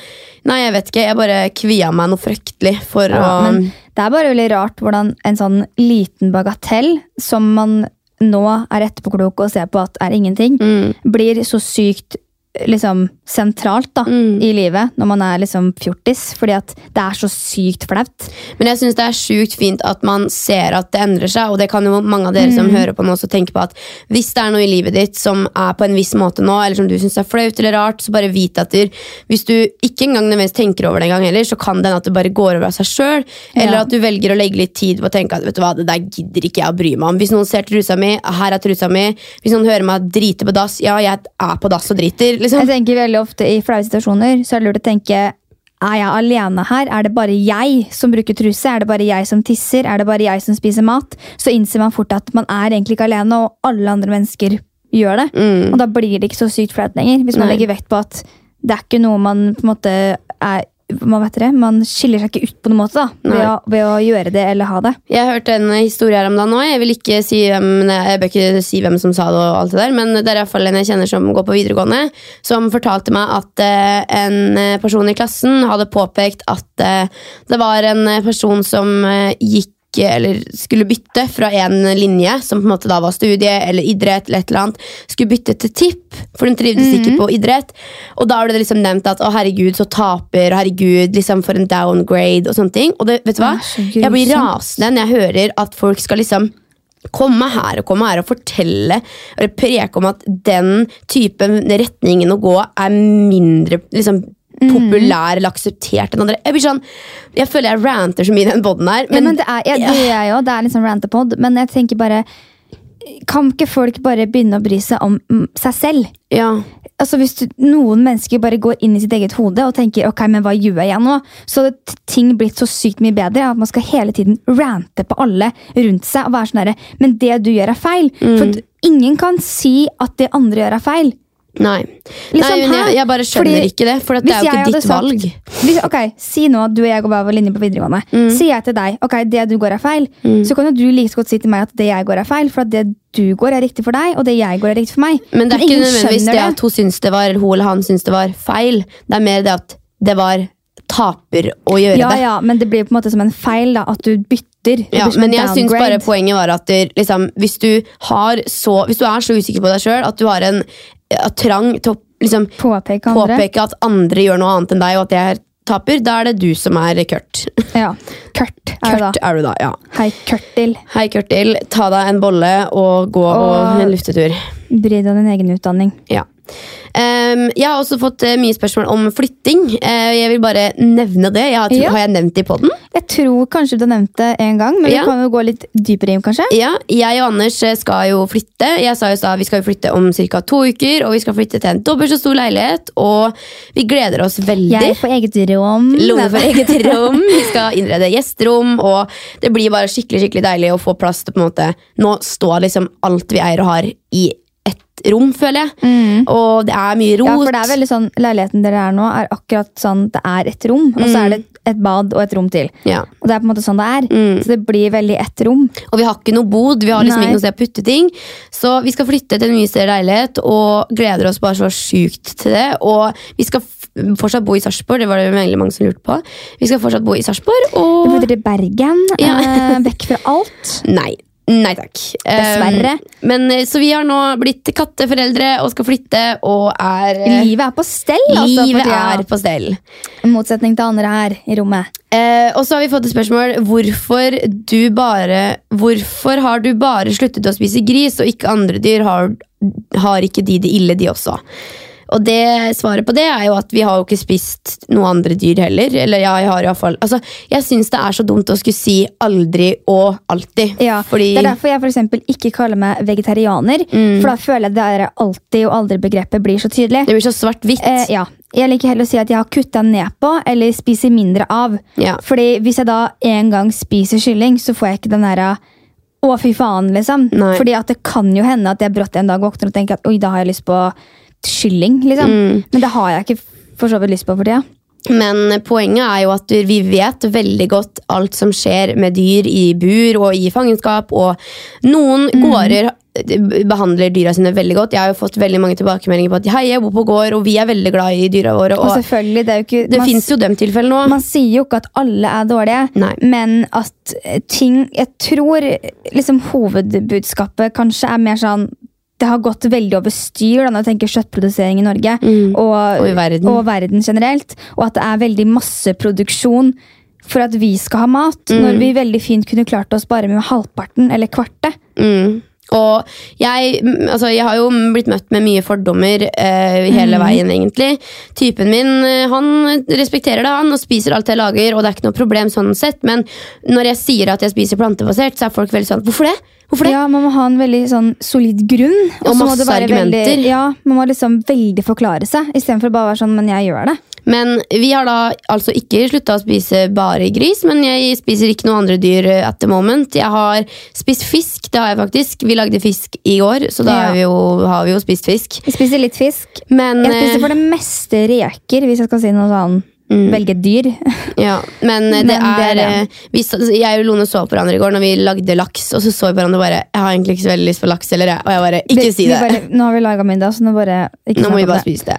nei, jeg vet ikke, jeg bare kvia meg noe fryktelig for
Ja,
å
men det er bare veldig rart hvordan en sånn liten bagatell som man nå er etterpåklok og ser på at er ingenting,
mm,
blir så sykt liksom, sentralt da,
Mm.
i livet når man er liksom fjortis. Fordi at det er så sykt flaut.
Men jeg syns det er sjukt fint at man ser at det endrer seg, og det kan jo mange av dere som hører på nå også tenke på at hvis det er noe i livet ditt som er på en viss måte nå, eller som du syns er flaut eller rart, så bare vit at du- hvis du ikke engang nødvendigvis tenker over det engang heller, så kan det hende at det bare går over av seg sjøl, eller
Ja.
at du velger å legge litt tid på å tenke at vet du hva, det der gidder ikke jeg å bry meg om. Hvis noen ser trusa mi, her er trusa mi. Hvis noen hører meg drite på dass, ja, jeg er på dass og driter,
Jeg
liksom.
tenker veldig ofte i flaue situasjoner så er det lurt å tenke er jeg alene her? Er det bare jeg som bruker truse? Er det bare jeg som tisser? Er det bare jeg som spiser mat? Så innser man fort at man er egentlig ikke alene, og alle andre mennesker gjør det.
Mm.
Og da blir det ikke så sykt flaut lenger. Hvis man
Nei.
legger vekt på at det er ikke noe man på en måte er man, vet dere, man skiller seg ikke ut på noen måte da, ved
Nei.
å, ved å gjøre det eller ha det.
Jeg hørte en historie her om dagen òg. Jeg vil ikke si hvem, jeg bør ikke si hvem som sa det, og alt det der, men det er i hvert fall en jeg kjenner som går på videregående, som fortalte meg at eh, en eh, person i klassen hadde påpekt at eh, det var en eh, person som eh, gikk eller skulle bytte fra en linje, som på en måte da var studie eller idrett, eller et eller annet, skulle bytte til tipp, for hun trivdes ikke på idrett. Og da ble det liksom nevnt at 'Å, herregud, så taper', og 'herregud, liksom for en downgrade', og sånne ting. Og det, vet du hva?
Det er så
Jeg blir
grusomt.
rasende når jeg hører at folk skal liksom komme her og komme her og fortelle eller preke om at den typen retningen å gå er mindre liksom,
Mhm.
populær eller akseptert enn andre. Jeg blir sånn, jeg føler jeg ranter så mye i den boden her. Men,
Men, ja, men det er, ja, det gjør jeg jo, det er liksom rantepod, men jeg tenker bare Kan ikke folk bare begynne å bry seg om mm, seg selv?
ja,
altså hvis du, noen mennesker bare går inn i sitt eget hode og tenker ok, men hva gjør jeg nå? Så hadde t- ting blitt så sykt mye bedre at man skal hele tiden rante på alle rundt seg og være sånn herre, men det du gjør er feil.
Mm.
For d- ingen kan si at det andre gjør er feil.
nei. nei
Liksom,
men jeg,
hæ?
jeg bare skjønner
Fordi
ikke det, for at det er jo
jeg
ikke
hadde
ditt valg.
Hvis, ok, Si nå at du og jeg går bare over linje på videregående.
Mm.
Sier jeg til deg ok, det du går er feil, så kan jo du like så godt si til meg at det jeg går er feil, for at det du går er riktig for deg, og det jeg går er riktig for meg.
Men det er ikke
ingen
nødvendigvis
skjønner
det at hun syns det var, eller hun eller han syns det var feil. Det er mer det at det var taper å gjøre
Ja,
det.
ja, men det blir på en måte som en feil da, at du bytter. Det
Ja,
blir som
men
en
jeg synes
downgrade.
bare poenget var at det, liksom, hvis, du har så, hvis du er så usikker på deg sjøl at du har en ja, trang til å liksom,
Påpeke andre.
påpeke at andre gjør noe annet enn deg, og at jeg taper, da er det du som er Kurt.
Ja. Kurt er det da.
Kurt er du da, ja.
Hei, Kurtil.
Hei, Kurtil. Ta deg en bolle og gå
Og-
og en luftetur.
Bry deg om din egen utdanning.
Ja. Ehm, jeg har også fått eh, mye spørsmål om flytting. Eh, jeg vil bare nevne det. Jeg har,
Ja.
har jeg nevnt det i poden?
Jeg tror kanskje du har nevnt det en gang, men
Ja.
vi kan jo gå litt dypere inn, kanskje?
Ja, jeg og Anders eh, skal jo flytte. Jeg sa jo sa vi skal jo flytte om ca. to uker, og vi skal flytte til en dobbelt så stor leilighet. Og vi gleder oss veldig.
Jeg får eget rom.
Lomme for eget rom. Vi skal innrede gjesterom, og det blir bare skikkelig skikkelig deilig å få plass til på en måte Nå står liksom alt vi eier og har, i ett rom, føler jeg.
Mm.
Og det er mye rot.
Ja, for det er veldig sånn, Leiligheten dere er nå, er akkurat sånn det er et rom, og
Mm.
så er det et bad og et rom til.
Ja.
Og det er på en måte sånn det er.
Mm.
Så det blir veldig ett rom.
Og vi har ikke noe bod, vi har liksom
Nei.
ikke noe sted å putte ting. Så vi skal flytte til en mye større leilighet og gleder oss bare så sjukt til det. Og vi skal f- fortsatt bo i Sarpsborg, det var det veldig mange som lurte på. Vi skal fortsatt bo i Sarpsborg,
Vi
og
flytter til Bergen,
Ja.
eh, vekk fra alt.
Nei. Nei takk. Eh,
Dessverre.
men, eh, så vi har nå blitt katteforeldre og skal flytte og er eh,
Livet er på stell, altså. for
Livet
tida.
er på stell.
I motsetning til andre her i rommet.
Eh, og så har vi fått et spørsmål. Hvorfor, du bare, hvorfor har du bare sluttet å spise gris, og ikke andre dyr? Har, har ikke de det ille, de også? Og det svaret på det er jo at vi har jo ikke spist noe andre dyr heller. Eller ja, jeg har i hvert fall altså, Jeg syns det er så dumt å skulle si aldri og alltid.
Ja,
fordi Mm.
Det er derfor jeg for eksempel ikke kaller meg vegetarianer. For da føler jeg det der alltid og aldri-begrepet blir så tydelig.
det blir så svart-hvitt.
Eh, ja. Jeg liker heller å si at jeg har kutta ned på eller spiser mindre av.
Ja.
Fordi hvis jeg da en gang spiser kylling, så får jeg ikke den derre å, fy faen, liksom.
Nei.
Fordi at det kan jo hende at jeg brått en dag våkner og tenker at oi, da har jeg lyst på kylling. liksom.
Mm.
Men det har jeg ikke for så vidt lyst på for tida.
Men poenget er jo at vi vet veldig godt alt som skjer med dyr i bur og i fangenskap. Og noen
Mm.
gårder eh, behandler dyra sine veldig godt. Jeg har jo fått veldig mange tilbakemeldinger på at hei, jeg bor på gård, og vi er veldig glad i dyra våre.
Og
Og
selvfølgelig, det er jo ikke...
det
man-
fins jo dem tilfellene òg.
Man sier jo ikke at alle er dårlige,
Nei.
men at eh, ting Jeg tror liksom hovedbudskapet kanskje er mer sånn Det har gått veldig over styr da, når jeg tenker kjøttprodusering i Norge
Mm.
og,
Og i verden.
og verden generelt. Og at det er veldig masseproduksjon for at vi skal ha mat,
Mm.
når vi veldig fint kunne klart oss bare med halvparten eller kvartet.
Mm. Og jeg, mm, altså, jeg har jo blitt møtt med mye fordommer eh,
Mhm.
hele veien, egentlig. Typen min eh, han respekterer det, han, og spiser alt jeg lager. Og det er ikke noe problem sånn sett Men når jeg sier at jeg spiser plantebasert, så er folk veldig sånn Hvorfor det? Hvorfor det?
Ja, Man må ha en veldig sånn solid grunn.
Og
så må
masse
det være
argumenter.
Veldig, ja, Man må liksom veldig forklare seg, istedenfor bare å være sånn 'men jeg gjør det'.
Men vi har da altså ikke slutta å spise bare gris, men jeg spiser ikke noen andre dyr eh, at the moment. Jeg har spist fisk, det har jeg faktisk. Vi lagde fisk i går, så da
Ja.
er vi jo, har vi jo spist fisk.
Jeg spiser litt fisk.
Men,
Jeg
eh,
spiser for det meste reker, hvis jeg skal si noe sånn.
Mm.
Velge dyr.
Ja, men eh, det
Men det er
er,
det.
eh, vi, sa- Jeg og Lone så på hverandre i går når vi lagde laks, og så så vi hverandre bare Jeg har egentlig ikke så veldig lyst på laks heller, jeg. Og jeg bare Ikke
Vi-
si
vi
det.
Bare, nå har vi laga middag, så nå bare ikke
Nå
snakk
må vi
om
bare
det.
spise det.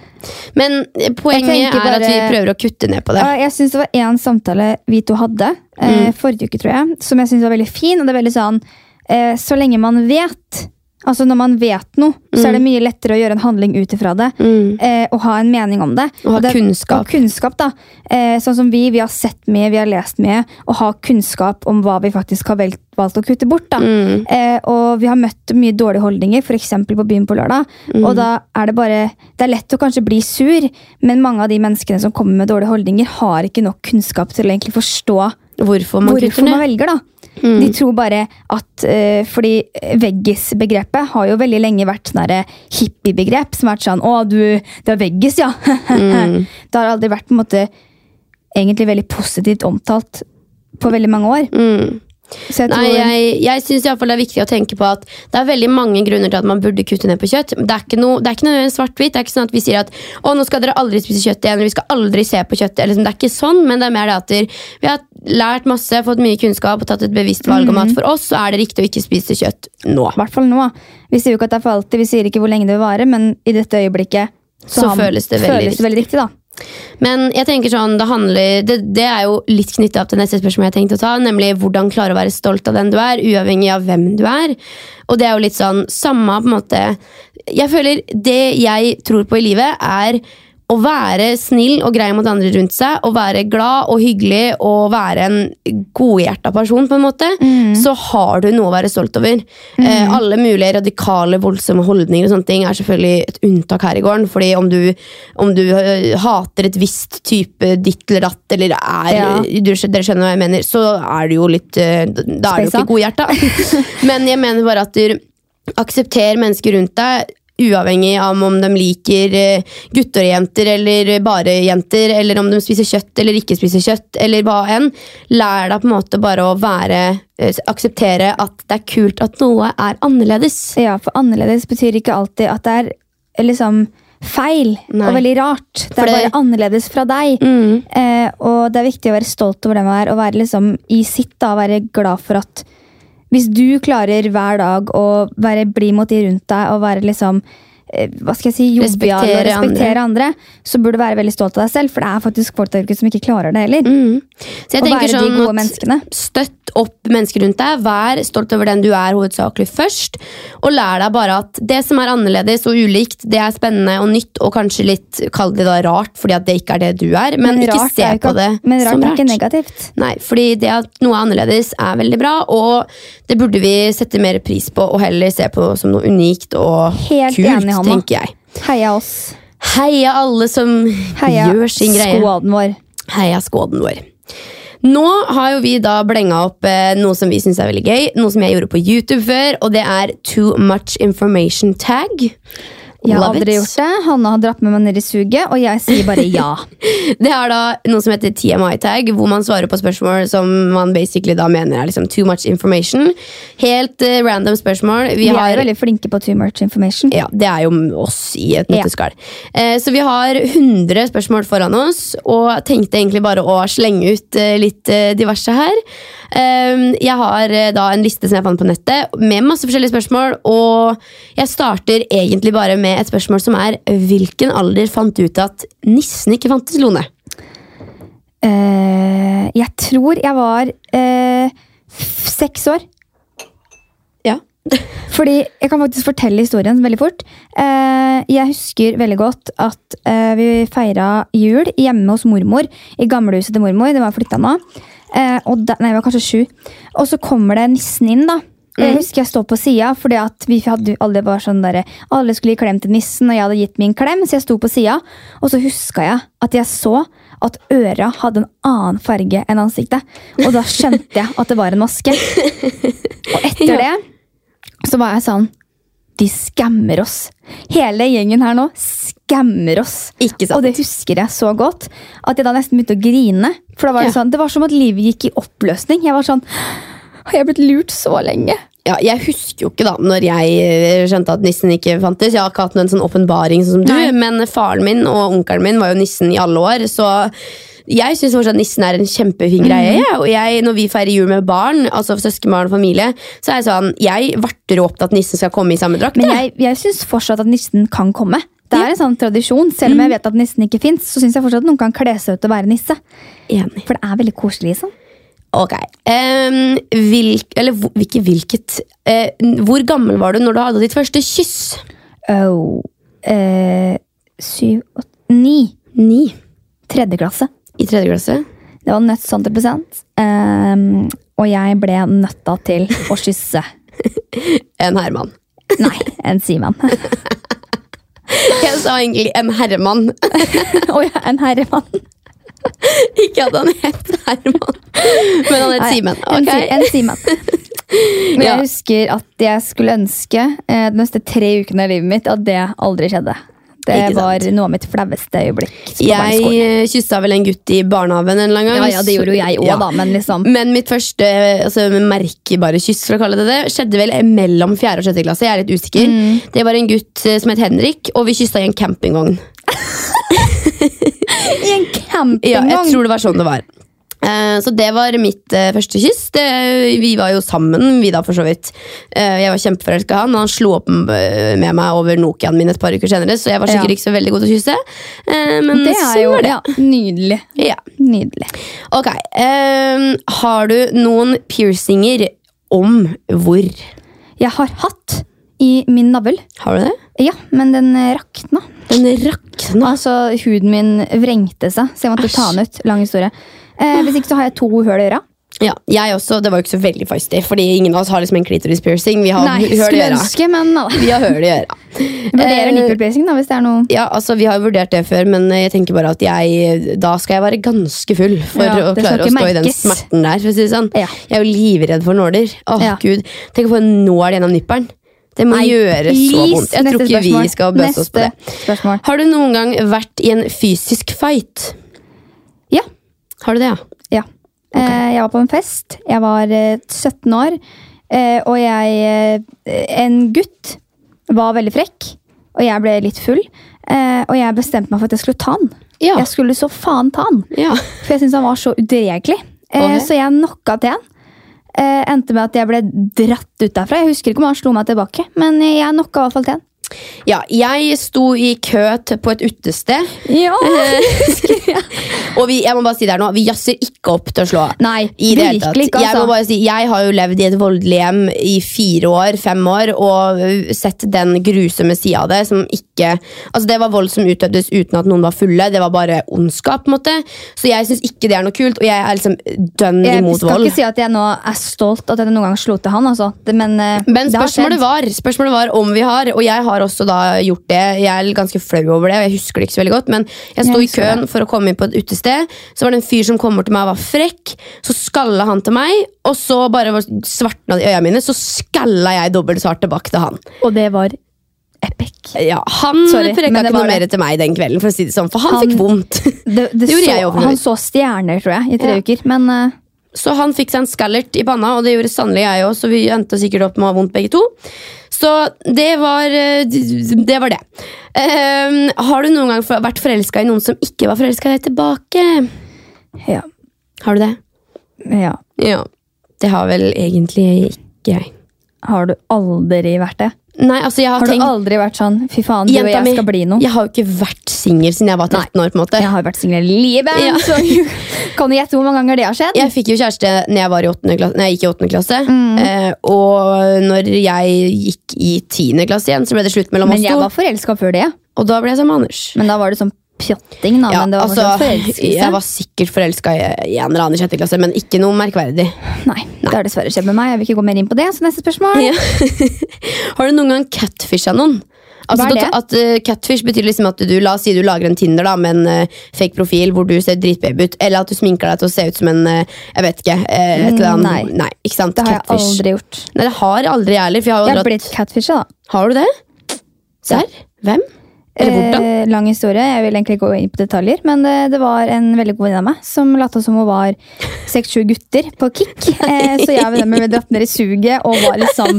Men eh, poenget
Jeg
er
tenker
at vi
bare-
prøver å kutte ned på det.
Ja, Jeg syns det var én samtale vi to hadde
Mm.
eh, forrige uke, tror jeg, som jeg syns var veldig fin. Og det er veldig sånn eh, Så lenge man vet, altså når man vet noe, så er det mye lettere å gjøre en handling ut ifra det.
Mm.
eh, og ha en mening om det.
Og ha
det,
kunnskap.
Og kunnskap da. Eh, sånn som vi, vi har sett mye, vi har lest mye, og har kunnskap om hva vi faktisk har vel, valgt å kutte bort. da.
Mm.
Eh, og vi har møtt mye dårlige holdninger, f.eks. på byen på lørdag.
Mm.
Og da er det bare, det er lett å kanskje bli sur, men mange av de menneskene som kommer med dårlige holdninger, har ikke nok kunnskap til å egentlig forstå
Hvorfor man
hvorfor
kutter
man
ned. Mm.
velger, da. De tror bare at eh, Fordi veggis-begrepet har jo veldig lenge vært sånn derre hippie-begrep. Som har vært sånn 'Å, du, du er veggis, ja'.
Mm.
Det har aldri vært på en måte egentlig veldig positivt omtalt på veldig mange år.
Mm.
Så jeg tror
Nei, jeg, jeg syns det er viktig å tenke på at det er veldig mange grunner til at man burde kutte ned på kjøtt. Det er ikke noe, det er ikke noe svart-hvitt. Det er ikke sånn at vi sier at å, nå skal dere aldri spise kjøtt igjen. eller Vi skal aldri se på kjøtt. Eller, liksom, det er ikke sånn, men det er mer det at der- vi har lært masse, fått mye kunnskap og tatt et bevisst valg
Mhm.
om at for oss så er det riktig å ikke spise kjøtt nå.
I hvert fall nå. Vi sier jo ikke at det er for alltid, vi sier ikke hvor lenge det vil vare, men i dette øyeblikket
Så føles det veldig
føles det veldig riktig. da.
Men jeg tenker sånn, det handler Det, det er jo litt knyttet opp til neste spørsmål jeg tenkte å ta, nemlig hvordan klare å være stolt av den du er, uavhengig av hvem du er. Og det er jo litt sånn samme på en måte Jeg føler det jeg tror på i livet, er å være snill og grei mot andre rundt seg, og være glad og hyggelig og være en godhjerta person, på en måte, så har du noe å være stolt over. Eh, alle mulige radikale, voldsomme holdninger og sånne ting er selvfølgelig et unntak her i gården. fordi om du, om du eh, hater et visst type ditt eller datt, eller er
Ja.
du, Dere skjønner hva jeg mener, så er du jo litt eh, Da er du
Speisa.
ikke godhjerta. Men jeg mener bare at du aksepterer mennesker rundt deg, uavhengig av om de liker eh, gutter og jenter, eller bare jenter, eller om de spiser kjøtt eller ikke spiser kjøtt, eller hva enn. Lær deg på en måte bare å være eh, Akseptere at det er kult at noe er annerledes.
Ja, for annerledes betyr ikke alltid at det er liksom feil
Nei.
og veldig rart. Det
For
er
det- Mm.
bare annerledes fra deg. Eh, og det er viktig å være stolt over det man er, og være liksom i sitt da, være glad for at hvis du klarer hver dag å være blid mot de rundt deg og være liksom eh, hva skal jeg si, jovial og
Respektere andre.
respektere andre. så burde du være veldig stolt av deg selv, for det er faktisk folk der ute som ikke klarer det heller.
Mm. Så jeg
å
tenker
være
sånn
de gode
at
menneskene.
Støtt opp mennesker rundt deg. Vær stolt over den du er, hovedsakelig først. Og lær deg bare at det som er annerledes og ulikt, det er spennende og nytt, og kanskje litt kall det da rart, fordi at det ikke er det du er. Men, ikke
rart
se
er jo
på det
men rart
som
er ikke negativt.
Nei, fordi det at noe er annerledes er veldig bra, og det burde vi sette mer pris på og heller se på som noe unikt og
Helt
kult,
enig, Hanna.
tenker jeg.
Heia oss.
Heia alle som
Heia
gjør sin greie.
skoaden vår.
Heia skåden vår. Nå har jo vi da blenga opp eh, noe som vi syns er veldig gøy, noe som jeg gjorde på YouTube før, og det er Too Much Information Tag.
Jeg har
Love
aldri
it.
gjort det. Hanna har dratt med meg ned i suget, og jeg sier bare ja.
Det er da noe som heter TMI-tag, hvor man svarer på spørsmål som man basically da mener er liksom too much information. Helt eh, random spørsmål. Vi,
Vi er
har
veldig flinke på too much information.
ja, Det er jo oss i et nøtteskall. Eh, så vi har 100 spørsmål foran oss, og tenkte egentlig bare å slenge ut eh, litt eh, diverse her. Eh, jeg har eh, da en liste som jeg fant på nettet, med masse forskjellige spørsmål. Og jeg starter egentlig bare med et spørsmål som er hvilken alder fant du ut at nissen ikke fantes, Lone?
Eh, jeg tror jeg var eh, f- seks år.
Ja.
Fordi Jeg kan faktisk fortelle historien veldig fort. Eh, jeg husker veldig godt at eh, vi feira jul hjemme hos mormor. I gamlehuset til mormor. Det var flytta nå. Eh, og da, nei, jeg var kanskje sju. Og så kommer det nissen inn, da. Og Jeg husker jeg står på sida, fordi at vi hadde, alle var sånn derre- alle skulle gi klem til nissen. Og jeg hadde gitt min klem, så jeg sto på sida. Og så huska jeg at jeg så at øra hadde en annen farge enn ansiktet. Og da skjønte jeg at det var en maske. Og etter det så var jeg sånn De skammer oss. Hele gjengen her nå skammer oss.
Ikke sant?
Og det husker jeg så godt. At jeg da nesten begynte å grine. For da var det,
Ja.
sånn, det var som at livet gikk i oppløsning. Jeg var sånn Har jeg blitt lurt så lenge?
ja, jeg husker jo ikke da når jeg eh, skjønte at nissen ikke fantes. Jeg har ikke hatt noen sånn åpenbaring sånn som du,
Nei.
men faren min og onkelen min var jo nissen i alle år. Så jeg syns fortsatt nissen er en kjempefin greie.
Mhm.
jeg. Og jeg, når vi feirer jul med barn, altså søskenbarn og familie, så er jeg sånn Jeg varter opp til at nissen skal komme i samme drakt.
Men
jeg.
jeg, jeg syns fortsatt at nissen kan komme. Det er en sånn tradisjon, Selv
Mm.
om jeg vet at nissen ikke fins, så syns jeg fortsatt at noen kan kle seg ut til å være nisse.
Enig.
For det er veldig koselig. liksom.
Ok. Em, hvilk, eller hvor- ikke hvilket eh, Hvor gammel var du når du hadde ditt første kyss?
Oh, eh, syv, åtte, ni.
Ni.
Tredje klasse.
I tredje klasse.
Det var nødt 100 ehm, Og jeg ble nøtta til å kysse.
En Herman.
Nei, en Simen.
Jeg sa egentlig en herremann.
Å ja, en herremann.
Ikke at han het Herman, men han het
Nei,
Simen.
En,
ok?
Si- en Simen. Men
Ja.
jeg husker at jeg skulle ønske eh, de neste tre ukene av livet mitt at det aldri skjedde. Det
Ikke sant.
var noe av mitt flaueste øyeblikk. på
Jeg
barneskolen.
eh, kyssa vel en gutt i barnehagen en eller annen gang.
ja, ja, det gjorde jo jeg òg,
Ja.
da, men liksom
Men mitt første altså, merkebare kyss for å kalle det det, skjedde vel mellom 4. og 6. klasse. Jeg er litt usikker.
Mm.
Det var en gutt eh, som het Henrik, og vi kyssa i en campingvogn.
I en
Ja,
campingvogn!
jeg tror det var sånn det var. Eh, Så det var mitt eh, første kyss. Det, vi var jo sammen, vi da, for så vidt. Eh, Jeg var kjempeforelska i han, og han slo opp m- med meg over Nokiaen min et par uker senere, så jeg var sikkert
Ja.
ikke så veldig god til å kysse. Eh, Men
det
sånn
er jo
var det.
ja, nydelig.
Ja.
Nydelig.
Ok. ehm, har du noen piercinger om hvor?
Jeg har hatt i min navl.
Har du det?
Ja, men den eh, rakna.
Den rakna.
Altså, huden min vrengte seg, så jeg måtte ta den ut. Lang historie. Eh, hvis ikke så har jeg to hull i øra.
Ja, jeg også. Det var jo ikke så veldig feisty, fordi ingen av oss har liksom en clitoris-piercing. Vi har
Nei,
høl i
skulle
øra.
ønske, men alle
Vi har høl i øra.
vurderer
Eh,
nipple piercing da, hvis det er noe
Ja, altså Vi har jo vurdert det før, men jeg tenker bare at jeg, da skal jeg være ganske full for
Ja,
å
det skal
klare å
ikke
stå i den
merkes.
smerten der. for å si det sånn.
Ja.
Jeg er jo livredd for nåler. Åh,
Ja.
Gud. Tenk å få en nål gjennom nippelen. Det må
Nei,
gjøre så
please,
vondt. Jeg tror
neste
ikke
spørsmål.
vi skal bøse oss på det.
Neste spørsmål.
Har du noen gang vært i en fysisk fight?
Ja.
Har du det, ja?
ja. Eh, jeg var på en fest. Jeg var eh, 17 år, eh, og jeg eh, En gutt var veldig frekk, og jeg ble litt full. Eh, og jeg bestemte meg for at jeg skulle ta han.
Ja.
Jeg skulle så faen ta han.
Ja.
For jeg syntes han var så udregelig. Eh,
Ok.
Så jeg knocka til han. Eh, endte med at jeg ble dratt ut derfra. Jeg husker ikke om han slo meg tilbake, men jeg knocka i hvert fall til han.
Ja, jeg sto i kø til, på et utested.
Ja!
Og vi, jeg må bare si det her nå, vi jazzer ikke opp til å slå.
Nei,
I det hele tatt.
virkelig ikke,
Jeg må
altså.
bare si, jeg har jo levd i et voldelig hjem i fire år, fem år, og øh, sett den grusomme sida av det som ikke Altså, det var vold som utøvdes uten at noen var fulle, det var bare ondskap, på en måte. Så jeg syns ikke det er noe kult, og jeg er liksom dønn
Jeg
imot
skal
vold.
ikke si at jeg nå er stolt at jeg noen gang slo til han, altså. Det- Men, eh,
Men
det har
spørsmålet
skjedd.
var, spørsmålet var om vi har, og jeg har også da gjort det. Jeg er ganske flau over det, og jeg husker det ikke så veldig godt. Men jeg sto
Jeg
i
husker
køen for å komme inn på et utested. Så var det en fyr som kom bort til meg og var frekk. Så skalla han til meg, og så bare var- svartna det i øya mine. Så skalla jeg dobbelt svart tilbake til han.
Og det var epic.
Ja, Han
Sorry, men
frekka
det
ikke
var
noe
det.
mer til meg den kvelden, for å si det sånn, for han,
Han-
fikk vondt.
Det,
Det gjorde
så,
jeg overfor.
Han så stjerner, tror jeg, i tre
Ja.
uker. Men eh,
Så han fikk seg en skallert i panna, og det gjorde sannelig jeg òg, så vi endte sikkert opp med å ha vondt begge to. Så det var eh, d- det. Var det. Ehm, har du noen gang for- vært forelska i noen som ikke var forelska i deg tilbake?
ja.
Har du det?
ja.
Ja. Det har vel egentlig ikke jeg.
Har du aldri vært det?
Nei, altså jeg har,
Har du
tenkt
aldri vært sånn Fy faen, du og jeg skal bli noe?
jeg har jo ikke vært singel siden jeg var 13 år. på en måte
Jeg har vært singel hele livet,
Ja.
så kan du gjette hvor mange ganger det har skjedd?
Jeg fikk jo kjæreste når jeg, var i åttende klasse, når jeg gikk i åttende klasse.
Mm.
Eh, og når jeg gikk i tiende klasse igjen, så ble det slutt mellom
Men
oss
jeg
to.
var forelska før det.
Og da ble jeg sammen med Anders.
Men da var det sånn pjatting, da.
Ja,
men det var fortsatt
altså, jeg
forelskelse.
var sikkert forelska i i en eller annen i sjette klasse, men ikke noe merkverdig.
Nei, det har dessverre skjedd med meg. Jeg vil ikke gå mer inn på det, så neste spørsmål.
Ja. Har du noen gang catfisha noen? Altså,
Hva er det?
At, at, eh, catfish betyr liksom at du la oss si du lager en Tinder da, med en eh, fake profil hvor du ser dritbaby ut, eller at du sminker deg til å se ut som en eh, jeg vet ikke, eh, et eller annet.
Nei.
Nei, ikke sant?
Det har jeg
Catfish.
aldri gjort.
Nei, det har aldri jeg heller. for Jeg har, jo
Jeg har
aldri
blitt catfisha, da.
hatt- har du det? Serr? Hvem? Eller hvordan?
Eh, lang historie. Jeg vil egentlig ikke gå inn på detaljer, men det, det var en veldig god venninne av meg som lot som hun var seks-sju gutter på Kick. Eh, så jeg og venninna ble dratt ned i suget og var liksom,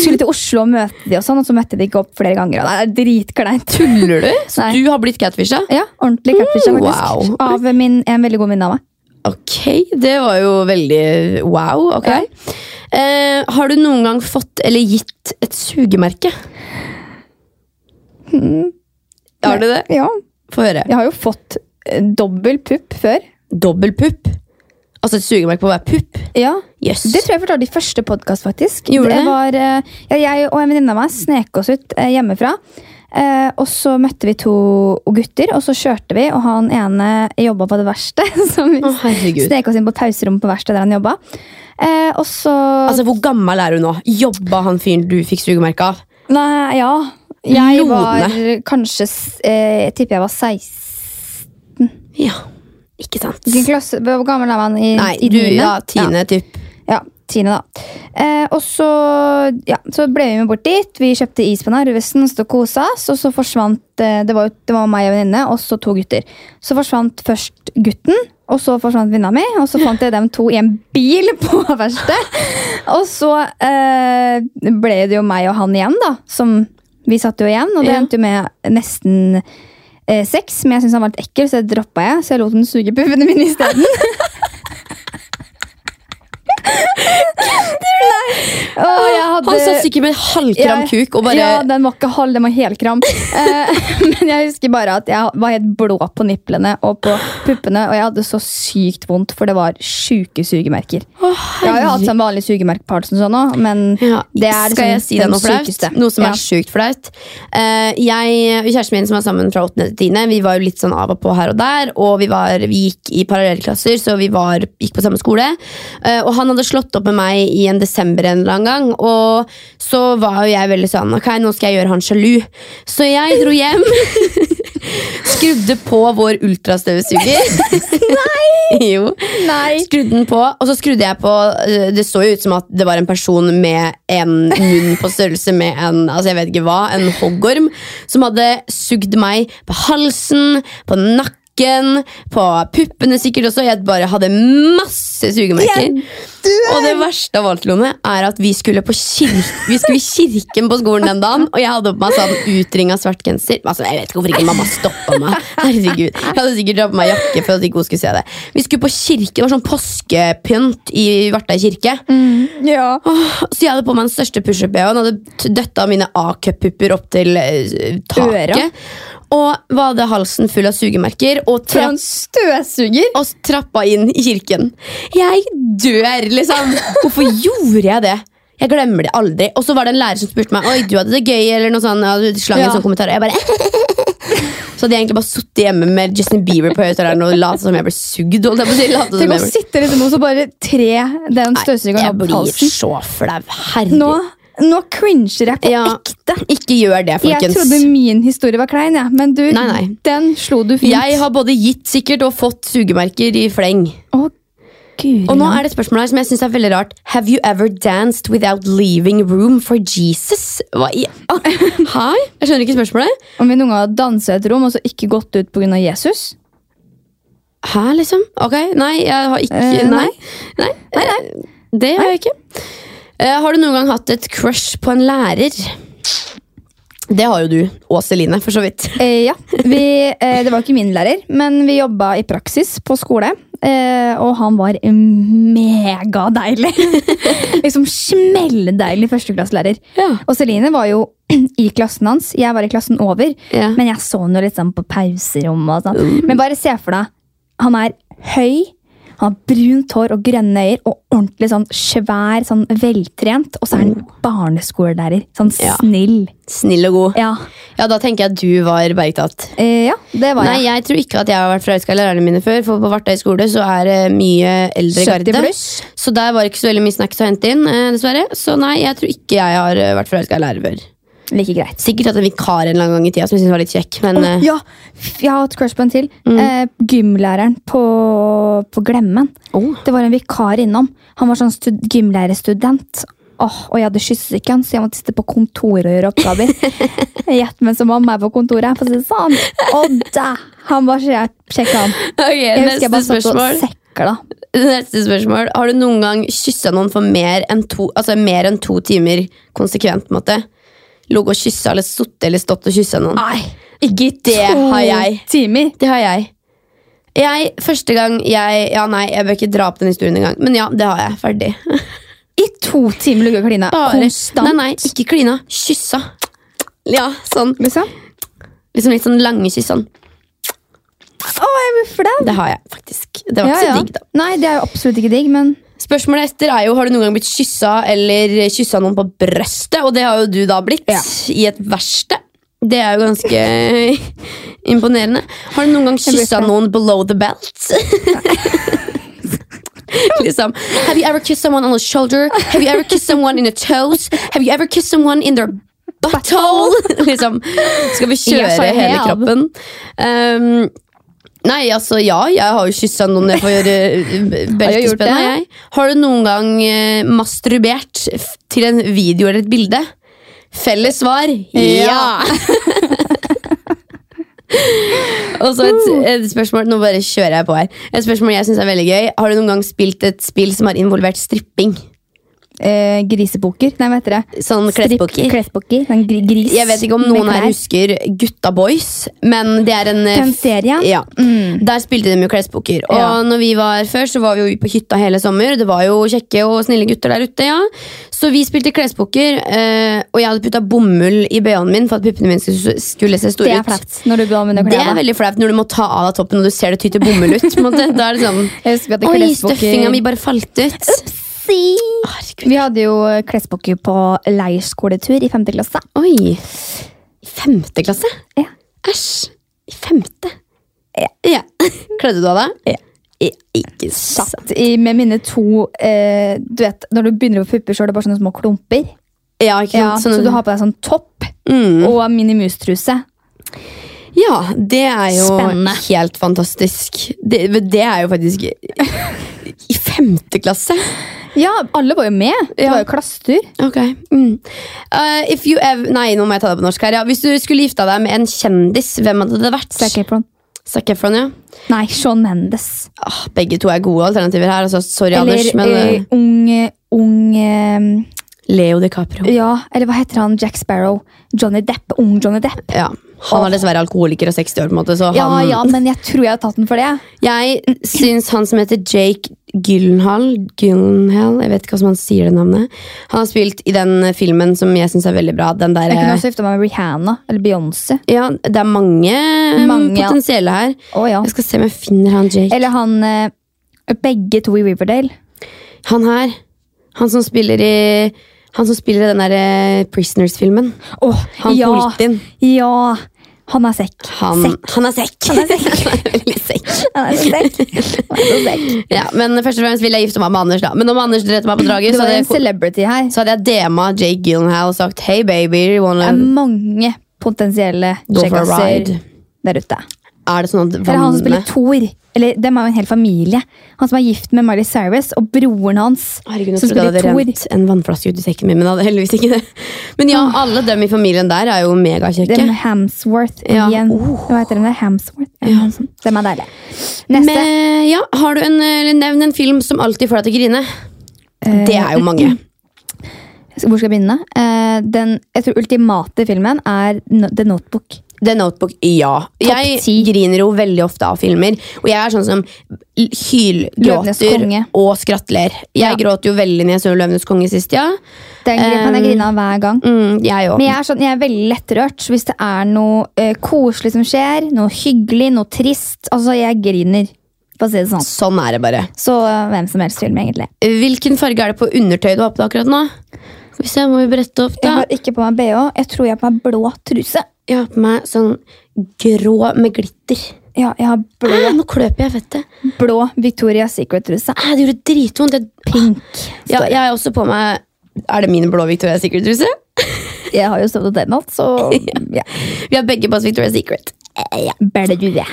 skulle til Oslo og møte de og sånn, og så møtte de ikke opp flere ganger. Og det er dritkleint.
Tuller du? Så
Nei.
du har blitt catfisha?
Ja, ordentlig catfish
Mm,
faktisk. Av min, en veldig god venninne av meg.
Ok, det var jo veldig wow. ok.
Ja.
Eh, har du noen gang fått eller gitt et sugemerke? Hmm. Har du det?
Ja,
Få høre.
jeg har jo fått eh, dobbel pupp før.
Dobbel pupp? Altså et sugemerke på hver pupp?
Ja,
Jøss.
Det tror jeg fortalte i første podkast, faktisk.
Gjorde
det
det?
var, eh, ja, jeg og en venninne av meg snek oss ut eh, hjemmefra. Eh, og så møtte vi to gutter, og så kjørte vi, og han ene jobba på det verkstedet. Så vi
Å, herregud.
snek oss inn på pauserommet på verkstedet der han jobba. Eh, og så
Altså, Hvor gammel er hun nå? Jobba han fyren du fikk sugemerke av?
Nei, ja. Jeg
Lone.
var kanskje s- eh, Jeg tipper jeg var 16.
Ja, ikke sant?
Hvilken klasse, Hvor gammel er man i,
Nei,
i
du,
niende?
ja, tiende typ.
Ja, tiende da. Eh, og så, ja, så ble vi med bort dit. Vi kjøpte is på Narvesen, stod og kosa oss, og så forsvant eh, Det var, jo- det var meg og venninne, og så to gutter. Så forsvant først gutten, og så forsvant venninna mi, og så fant jeg dem to i en bil på verkstedet. Og så eh, ble det jo meg og han igjen, da, som vi satt jo igjen, og det
Ja.
endte jo med nesten eh, sex, men jeg syntes han var litt ekkel, så det droppa jeg, så jeg lot den suge puppene mine isteden. Og jeg hadde-
Han satt sikkert med en halvkram
Jeg-
kuk og bare
Ja, den var ikke halv, den var helkram. Eh, men jeg husker bare at jeg var helt blå på niplene og på puppene, og jeg hadde så sykt vondt, for det var sjuke sugemerker.
Å,
Jeg har jo hatt sånn vanlig sugemerkeparelsen sånn òg, men
Ja,
det er
skal jeg
liksom
si deg
den
noe flaut?
sykeste.
Noe som
Ja.
er sjukt flaut. Eh, jeg, kjæresten min som er sammen fra 8. til 10., vi var jo litt sånn av og på her og der. Og vi, var, vi gikk i parallellklasser, så vi var, gikk på samme skole. Eh, og han hadde slått opp med meg i en desember en eller annen gang. Og så var jo jeg veldig sånn Ok, nå skal jeg gjøre han sjalu. Så jeg dro hjem. Skrudde på vår ultrastøvsuger. Nei! jo.
Nei.
Skrudde den på, og så skrudde jeg på øh, Det så jo ut som at det var en person med en munn på størrelse med en altså jeg vet ikke hva, en hoggorm, som hadde sugd meg på halsen, på nakken, nakken, på puppene sikkert også. Jeg bare hadde masse sugemerker.
Jeg
Og det verste av alt, Lone, er at vi skulle på kirk Vi skulle i kirken på skolen den dagen, og jeg hadde på meg sånn utringa svart genser. Altså, jeg vet ikke hvorfor ikke mamma stoppa meg. Herregud. Jeg hadde sikkert dratt på meg jakke for at ikke hun skulle se det. Vi skulle på kirke, det var sånn påskepynt i Vartei kirke.
Ja.
Åh, så jeg hadde på meg den største pushup-BH-en. Hadde t- døtta mine A-cup-pupper opp til eh, taket.
Øra.
Og var hadde halsen full av sugemerker. Og
Fra
trapp
en støvsuger.
og s- trappa inn i kirken. Jeg dør, liksom! Hvorfor gjorde jeg det? Jeg glemmer det aldri. Og så var det en lærer som spurte meg Oi, du hadde det gøy, eller noe sånt. Ja, du slang
Ja.
en sånn kommentar. Og jeg bare Så hadde jeg egentlig bare sittet hjemme med Justin Bieber på høyttaleren og latt som jeg ble sugd. Holdt jeg på å si. Latet som
Tenk å
jeg ble...
sitte liksom og så bare tre den støvsugeren
Jeg
opp
blir
halsen.
så flau. Herregud.
Nå, nå cringer jeg på
Ja.
ekte.
Ikke gjør det,
Jeg
folkens.
trodde min historie var klein, ja. men du,
Nei, nei.
den slo du fint.
Jeg har både gitt sikkert og fått sugemerker i fleng.
Å, guri
Og nå
land.
er det et spørsmål her som jeg synes er veldig rart. Have you ever danced without leaving room for Jesus? Hva i ah, Hæ? Jeg skjønner ikke spørsmålet.
Om vi noen gang hadde danset i et rom og så ikke gått ut pga. Jesus?
Hæ, liksom? Ok, nei, jeg har ikke
Eh,
Nei. Nei, nei, Det har jeg ikke. Eh, har du noen gang hatt et crush på en lærer? Det har jo du. Og Celine, for så vidt.
Eh, ja, vi, eh, Det var ikke min lærer, men vi jobba i praksis på skole. Eh, og han var megadeilig! liksom smelldeilig førsteklasselærer.
Ja.
Og Celine var jo i klassen hans. Jeg var i klassen over.
Ja. Mm.
Men jeg så henne litt sånn på pauserommet. Og sånn. Men bare se for deg. Han er høy, han har brunt hår og grønne øyer og ordentlig sånn svær, sånn veltrent. Og så er han barneskolelærer. Sånn
Mm. Ja.
snill.
Snill og god.
Ja,
Ja, da tenker jeg at du var Bergtatt.
eh, ja det var jeg.
Nei, jeg tror ikke at jeg har vært forelska i lærerne mine før. For på Vartøy skole så er det mye eldre
70
garde.
pluss.
Så der var det ikke så veldig mye snacks å hente inn, eh, dessverre. Så nei, jeg tror ikke jeg har eh, vært forelska i lærer før.
Like greit.
Sikkert hatt en vikar en eller annen gang i tida som jeg syntes var litt kjekk, men eh,
Ja, f- jeg har hatt crush på en til.
Mm.
Eh, gymlæreren på, på Glemmen.
Åh.
Det var en vikar innom. Han var sånn stud gymlærerstudent. Åh, og jeg hadde kyssesyke, han, så jeg måtte sitte på kontoret og gjøre oppgaver. Gjett meg som mamma er på kontoret. For å si det sånn. Og da, han var så kjekk, han. Jeg husker
neste,
jeg bare satt og
spørsmål.
sekla.
neste spørsmål. Har du noen gang kyssa noen for mer enn to, altså mer enn to timer konsekvent? på en måte? Ligget og kyssa eller sittet eller stått og kyssa noen?
Nei,
Ah, Ikke det har jeg.
timer.
Det har jeg. Jeg, Første gang jeg Ja, nei, jeg bør ikke dra opp den historien engang. Men ja, det har jeg. Ferdig.
I to timer lugge og kline. Konstant.
Nei, nei, ikke klina. Kyssa. Ja, sånn.
Liksom.
Liksom litt sånn lange kyss sånn.
Å, jeg blir flau.
Det har jeg faktisk. Det var ikke så digg, da.
Nei, det er jo absolutt ikke digg, men
Spørsmålet etter er jo har du noen gang blitt kyssa eller kyssa noen på brøstet, og det har jo du da blitt. I et verste. Det er jo ganske imponerende. Har du noen gang
blir
kyssa
flau.
noen below the belt? liksom. Have you ever kissed someone on the shoulder? Have you ever kissed someone in the toes? Have you ever kissed someone in their butthole? liksom. Skal vi
Yes, I
kjøre hele
have.
kroppen? Um, nei, altså ja, jeg har jo kyssa noen jeg får gjøre eh,
gjort det?
beltespenn. Har, jeg. har du noen gang eh, masturbert f- til en video eller et bilde? Felles svar ja! Og så et, et spørsmål Nå bare kjører jeg på her. Et spørsmål jeg synes er veldig gøy. Har du noen gang spilt et spill som har involvert stripping?
eh, grisepoker. Nei, hva heter det?
Sånn
Stripp-
klettpoker.
Klettpoker. Sånn gri gris.
Jeg vet ikke om
med
noen her
klær.
husker Gutta Boys, men det er en eh,
Den serien? Mm.
Ja. Der spilte de jo klespoker. Og
Ja.
når vi var før, så var vi jo på hytta hele sommer. Det var jo kjekke og snille gutter der ute, ja. Så vi spilte klespoker, eh, og jeg hadde putta bomull i bh-en min for at puppene mine skulle- skulle se store
Det
ut.
er flaut. Når du går med
Det
klær.
er veldig flaut når du må ta av deg toppen og du ser det tyter bomull ut. på en måte. Da er det sånn
Jeg husker vi
Oi,
hadde
støffinga mi
klespoker.
bare falt ut. Herregud.
Vi hadde jo eh, klespoker på leirskoletur i femte klasse.
Oi. I femte klasse?
Ja.
Æsj. I femte? Ja. Kledde du av deg?
Ja.
I- Ikke sant.
Satt i, med mine to eh, Du vet, Når du begynner å få pupper, så er det bare sånne små klumper.
Ja, ikke
Ja,
sant?
så
Sånn-
du har på deg sånn topp
mm.
og minimustruse.
ja det er jo
Spennende.
helt fantastisk. Det, men det er jo faktisk I femte klasse?
Ja, alle var jo med. Det
Ja.
var jo klassetur.
Ok. Mm. Eh, if you ev Nei, nå må jeg ta det på norsk her. Ja. Hvis du skulle gifta deg med en kjendis, hvem hadde det vært?
Zac Efron.
Zac Efron, ja.
Nei, Sean Mendes.
Ah, begge to er gode alternativer her. Altså, sorry,
Eller
Anders, men
eh,
eh,
ung, eh, ung eh,
Leo DiCaprio.
Ja, eller hva heter han? Jack Sparrow. Johnny Depp. Ung Johnny Depp.
Ja. Han er dessverre alkoholiker og 60 år, på en måte, så han
Ja, ja, men jeg tror jeg har tatt den for det.
Jeg syns han som heter Jake Gyllenhaal Gyllenhaal, Jeg vet ikke hva som han sier det navnet. Han har spilt i den filmen som jeg syns er veldig bra. Den der,
Jeg kunne
eh,
også gifta meg med Rihanna eller Beyoncé.
ja, det er mange, eh,
Mange, ja.
potensielle her.
Å, ja.
Jeg skal se om jeg finner han Jake.
Eller han eh, Begge to i Riverdale.
Han her. Han som spiller i han som spiller i den der eh, Prisoners-filmen.
Oh,
Han
ja,
Politin.
ja. Han er sekk.
Han,
Sekk.
han er sekk!
Han er sekk.
Han er veldig sekk.
Han er så sekk. Han er så sekk.
Ja, men først og fremst vil jeg gifte meg med Anders, da. Men om Anders drepte meg på draget, så
Det var
hadde
en
jeg,
celebrity her.
så hadde jeg DM-a Jake Gyllenhaal og sagt Hey baby, you
Det
wanna
er mange potensielle
Go for a
kjekkaser
ride.
der ute.
Er det sånn at
Eller han
vannene
som spiller Thor. Eller, dem er jo en hel familie. Han som er gift med Miley Cyrus, og broren hans
Herregud, jeg
som
trodde det hadde
spiller Thor.
rent en vannflaske ut i sekken min, men det hadde heldigvis ikke det. Men ja, alle dem i familien der er jo
Dem
megakjekke.
Hamsworth
Ja.
igjen.
Oh.
Hva heter dem der? Hamsworth? Ja. noe sånt. Dem er deilige. Neste.
Men eh, ja, har du en, eller nevn en film som alltid får deg til å grine.
Eh,
Det er jo mange.
mm. Hvor skal jeg begynne? Eh, den jeg tror ultimate filmen er No- The Notebook.
The Notebook, ja. Jeg
ti.
griner jo veldig ofte av filmer. Og jeg er sånn som l-
Løvenes
hylgråter
konge.
og skrattler. Jeg
Ja.
gråt jo veldig når jeg så Løvenes konge sist, ja.
Den kan
Um,
jeg grine av hver gang.
Mm, jeg òg.
Men jeg er, sånn, jeg er veldig lettrørt. så Hvis det er noe eh, koselig som skjer, noe hyggelig, noe trist Altså, jeg griner. For å si det sånn.
Sånn er det bare.
Så eh, hvem som helst film, egentlig.
Hvilken farge er det på undertøyet du har på deg akkurat nå? Skal vi se, må vi brette opp,
Jeg
da.
har ikke på meg bh. Jeg tror jeg har på meg blå truse.
Jeg har på meg sånn grå med glitter.
Ja, jeg har blå,
Æ, nå kløper jeg fettet.
blå Victoria's Secret-truse.
Æ, det gjorde dritvondt. Jeg,
Pink.
ja, jeg har også på meg Er det min blå Victoria's Secret-truse?
Jeg har jo stått og den alt, så ja.
Vi har begge på oss Victoria's Secret.
Bæler du det?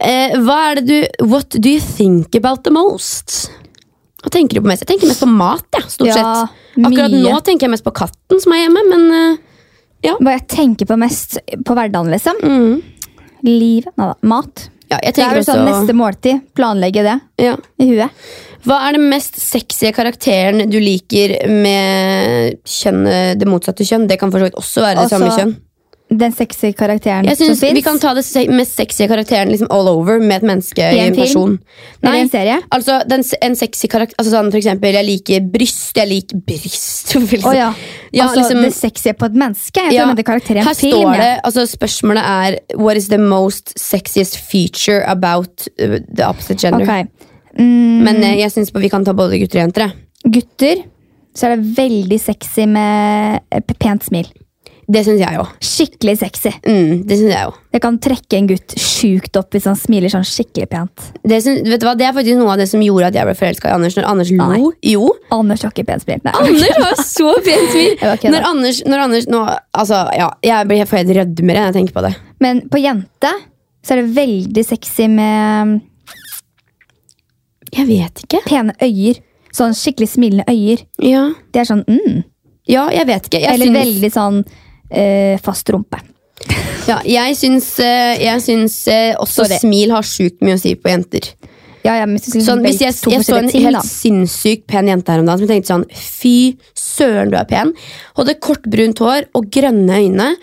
Eh, hva er det du What do you think about the most? Hva tenker du på mest? Jeg tenker mest på mat, ja, stort
Ja,
sett. Akkurat
mye.
nå tenker jeg mest på katten som er hjemme, men eh,
Hva jeg tenker på mest på hverdagen, liksom?
mm,
Livet. Neida, Mat.
ja, jeg
Det er
tenker
vel
også
sånn neste måltid. Planlegge det
ja.
i huet.
Hva er den mest sexy karakteren du liker med kjønnet, det motsatte kjønn? Det kan for så vidt også være det
Altså,
samme kjønn.
Den sexy karakteren
Jeg synes
som
Vi kan
fins.
ta det se- mest sexy karakteren liksom all over med et menneske i en
en film?
person.
Eller en serie.
Altså, den, s- en sexy karakter altså, sånn, For eksempel, jeg liker bryst. Jeg liker bryst.
Å ja.
Ja,
altså,
liksom-
det sexy på et menneske. Jeg tror
Ja,
jeg mente karakter i en
Her
film.
står
jeg.
det, altså Spørsmålet er What is the most sexiest feature about uh, the opposite gender?
Ok. Mm,
Men eh, jeg synes vi kan ta både gutter og jenter. jeg.
gutter, så er det veldig sexy med eh, pent smil.
Det syns jeg òg.
Skikkelig sexy.
Mm, det synes jeg også.
Jeg kan trekke en gutt sjukt opp hvis han smiler sånn skikkelig pent.
Det, syns- vet du hva, det er faktisk noe av det som gjorde at jeg ble forelska i Anders. Når Anders lo. Jo.
Anders har ikke pent smil. Nei.
Anders har så pent smil!
Jeg bare kødder.
Når Anders, når Anders nå, altså, ja, Jeg blir helt- får helt rødmere når jeg tenker på det.
Men på jente så er det veldig sexy med
Jeg vet ikke.
pene øyer. Sånn skikkelig smilende øyer.
Ja,
De er sånn mm.
ja jeg vet ikke. Jeg
Eller
syns,
veldig sånn eh, fast rumpe.
ja, jeg syns, eh, jeg syns eh, også
Sorry.
smil har sjukt mye å si på jenter.
Ja, ja, men hvis, du skulle
Sånn, hvis
velge
jeg,
Mm. to
jeg så en
forskjellige ting,
helt
da.
sinnssykt pen jente her om dagen som tenkte sånn Fy søren, du er pen. Hun hadde kort, brunt hår og grønne øyne.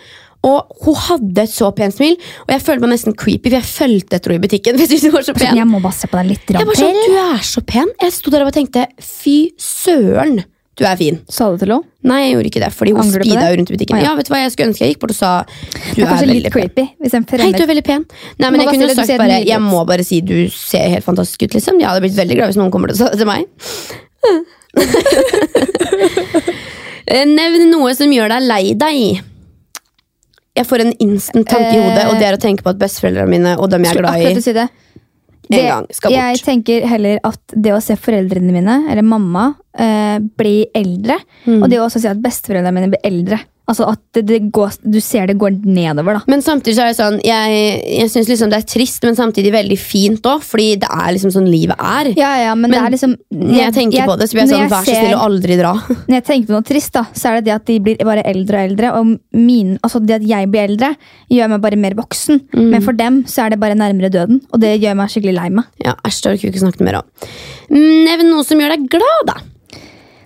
Og hun hadde et så pent smil, og jeg følte meg nesten creepy, for jeg fulgte etter henne i butikken. For jeg syntes hun var så
Sånn,
pen.
Jeg må bare se på den litt
Jeg
rann
var sånn,
til.
du er så pen. Jeg sto der og bare tenkte fy søren, du er fin.
Sa du til henne?
Nei, jeg gjorde ikke det, fordi hun
Angrer du på
speeda
det?
jo rundt i butikken.
Å, ja.
Ja, vet du hva jeg skulle ønske jeg gikk bort og sa du
Det er
er
kanskje litt
veldig pen.
creepy. Hvis en
Hei, du
fremmed
er veldig pen. Nei, men
Må
jeg
bare si
kunne
det, du
sagt
ser
bare
nydelig ut.
Jeg må bare si du ser helt fantastisk ut, liksom. Jeg hadde blitt veldig glad hvis noen kommer til å si det til meg. Eh, Nevn noe som gjør deg lei deg. Jeg får en instant tanke i hodet, og det er å tenke på at besteforeldrene mine og dem jeg er glad i,
Akkurat å si det.
en
Det-
gang skal bort.
Jeg tenker heller at det å se foreldrene
Mm.
mine, eller mamma, eh, bli eldre, og det å også si at besteforeldrene mine blir eldre Altså at det, det går, du ser det går nedover, da.
Men samtidig så er det sånn Jeg, jeg syns liksom det er trist, men samtidig veldig fint òg, fordi det er liksom sånn livet er.
Ja, ja, men, det
Men
er liksom
Når jeg tenker på det, så blir jeg
når
sånn Vær så
ser-
snill å aldri dra.
Når jeg tenker på noe trist, da, så er det det at de blir bare eldre og eldre. Og min, altså det at jeg blir eldre, gjør meg bare mer voksen.
Mm.
Men for dem så er det bare nærmere døden, og det gjør meg skikkelig lei meg.
Ja, Æsj, det orker vi ikke snakke mer om. Nevn noe som gjør deg glad, da.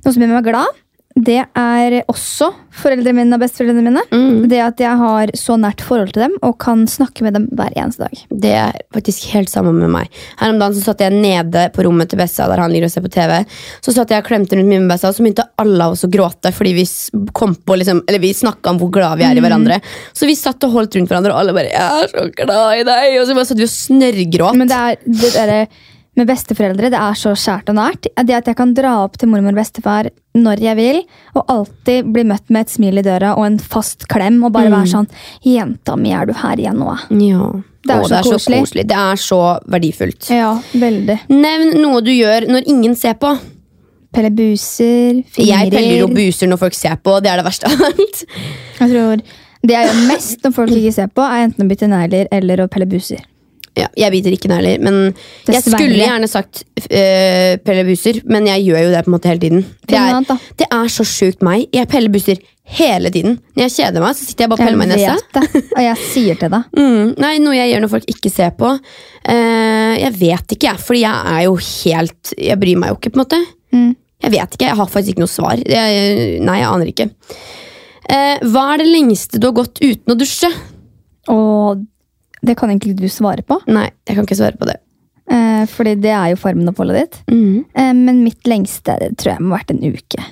Noe som gjør meg glad, det er også foreldrene mine og besteforeldrene mine. Det at jeg har så nært forhold til dem og kan snakke med dem hver eneste dag.
Det er faktisk helt samme med meg. Her om dagen så satt jeg nede på rommet til Bessa, der han ligger og ser på TV. Så satt jeg og klemte rundt min Bessa, og så begynte alle av oss å gråte. Fordi vi s- kom på liksom, eller vi snakka om hvor glad vi er i
Mm.
hverandre. Så vi satt og holdt rundt hverandre, og alle bare 'Jeg er så glad i deg'. Og så bare satt vi og snørrgråt.
Men det er det derre med besteforeldre det er så skjært og nært. Det at jeg kan dra opp til mormor og bestefar når jeg vil, og alltid bli møtt med et smil i døra og en fast klem. Og bare være sånn 'Jenta mi, er du her igjen nå?'
ja.
Det er
Å,
så koselig.
Det er så verdifullt.
Ja, veldig.
Nevn noe du gjør når ingen ser på.
Pelle buser,
Jeg peller og
fingrer
buser når folk ser på, og det er det verste av alt.
Jeg tror Det jeg gjør mest når folk ikke ser på, er enten å bytte negler eller å pelle buser.
ja, jeg biter ikke negler, men jeg
Dessverre.
skulle gjerne sagt uh, Pelle Buser, men jeg gjør jo det på en måte hele tiden. Det
Finn noe annet,
er,
da.
det er så sjukt meg. Jeg peller buser hele tiden. Når jeg kjeder meg, så sitter jeg bare og
Jeg
peller meg i nesa.
vet det, og jeg sier til deg.
Mm, nei, noe jeg gjør når folk ikke ser på. Eh, jeg vet ikke, jeg. Fordi jeg er jo helt Jeg bryr meg jo ikke, på en måte.
Mm.
Jeg vet ikke, jeg har faktisk ikke noe svar. Jeg, nei, jeg aner ikke. Eh, hva er det lengste du har gått uten å dusje?
Og det kan egentlig du svare på,
Nei, jeg kan ikke svare på det.
eh, fordi det er jo formen og pollet ditt.
Mm,
Eh, Men mitt lengste det tror jeg må ha vært en uke.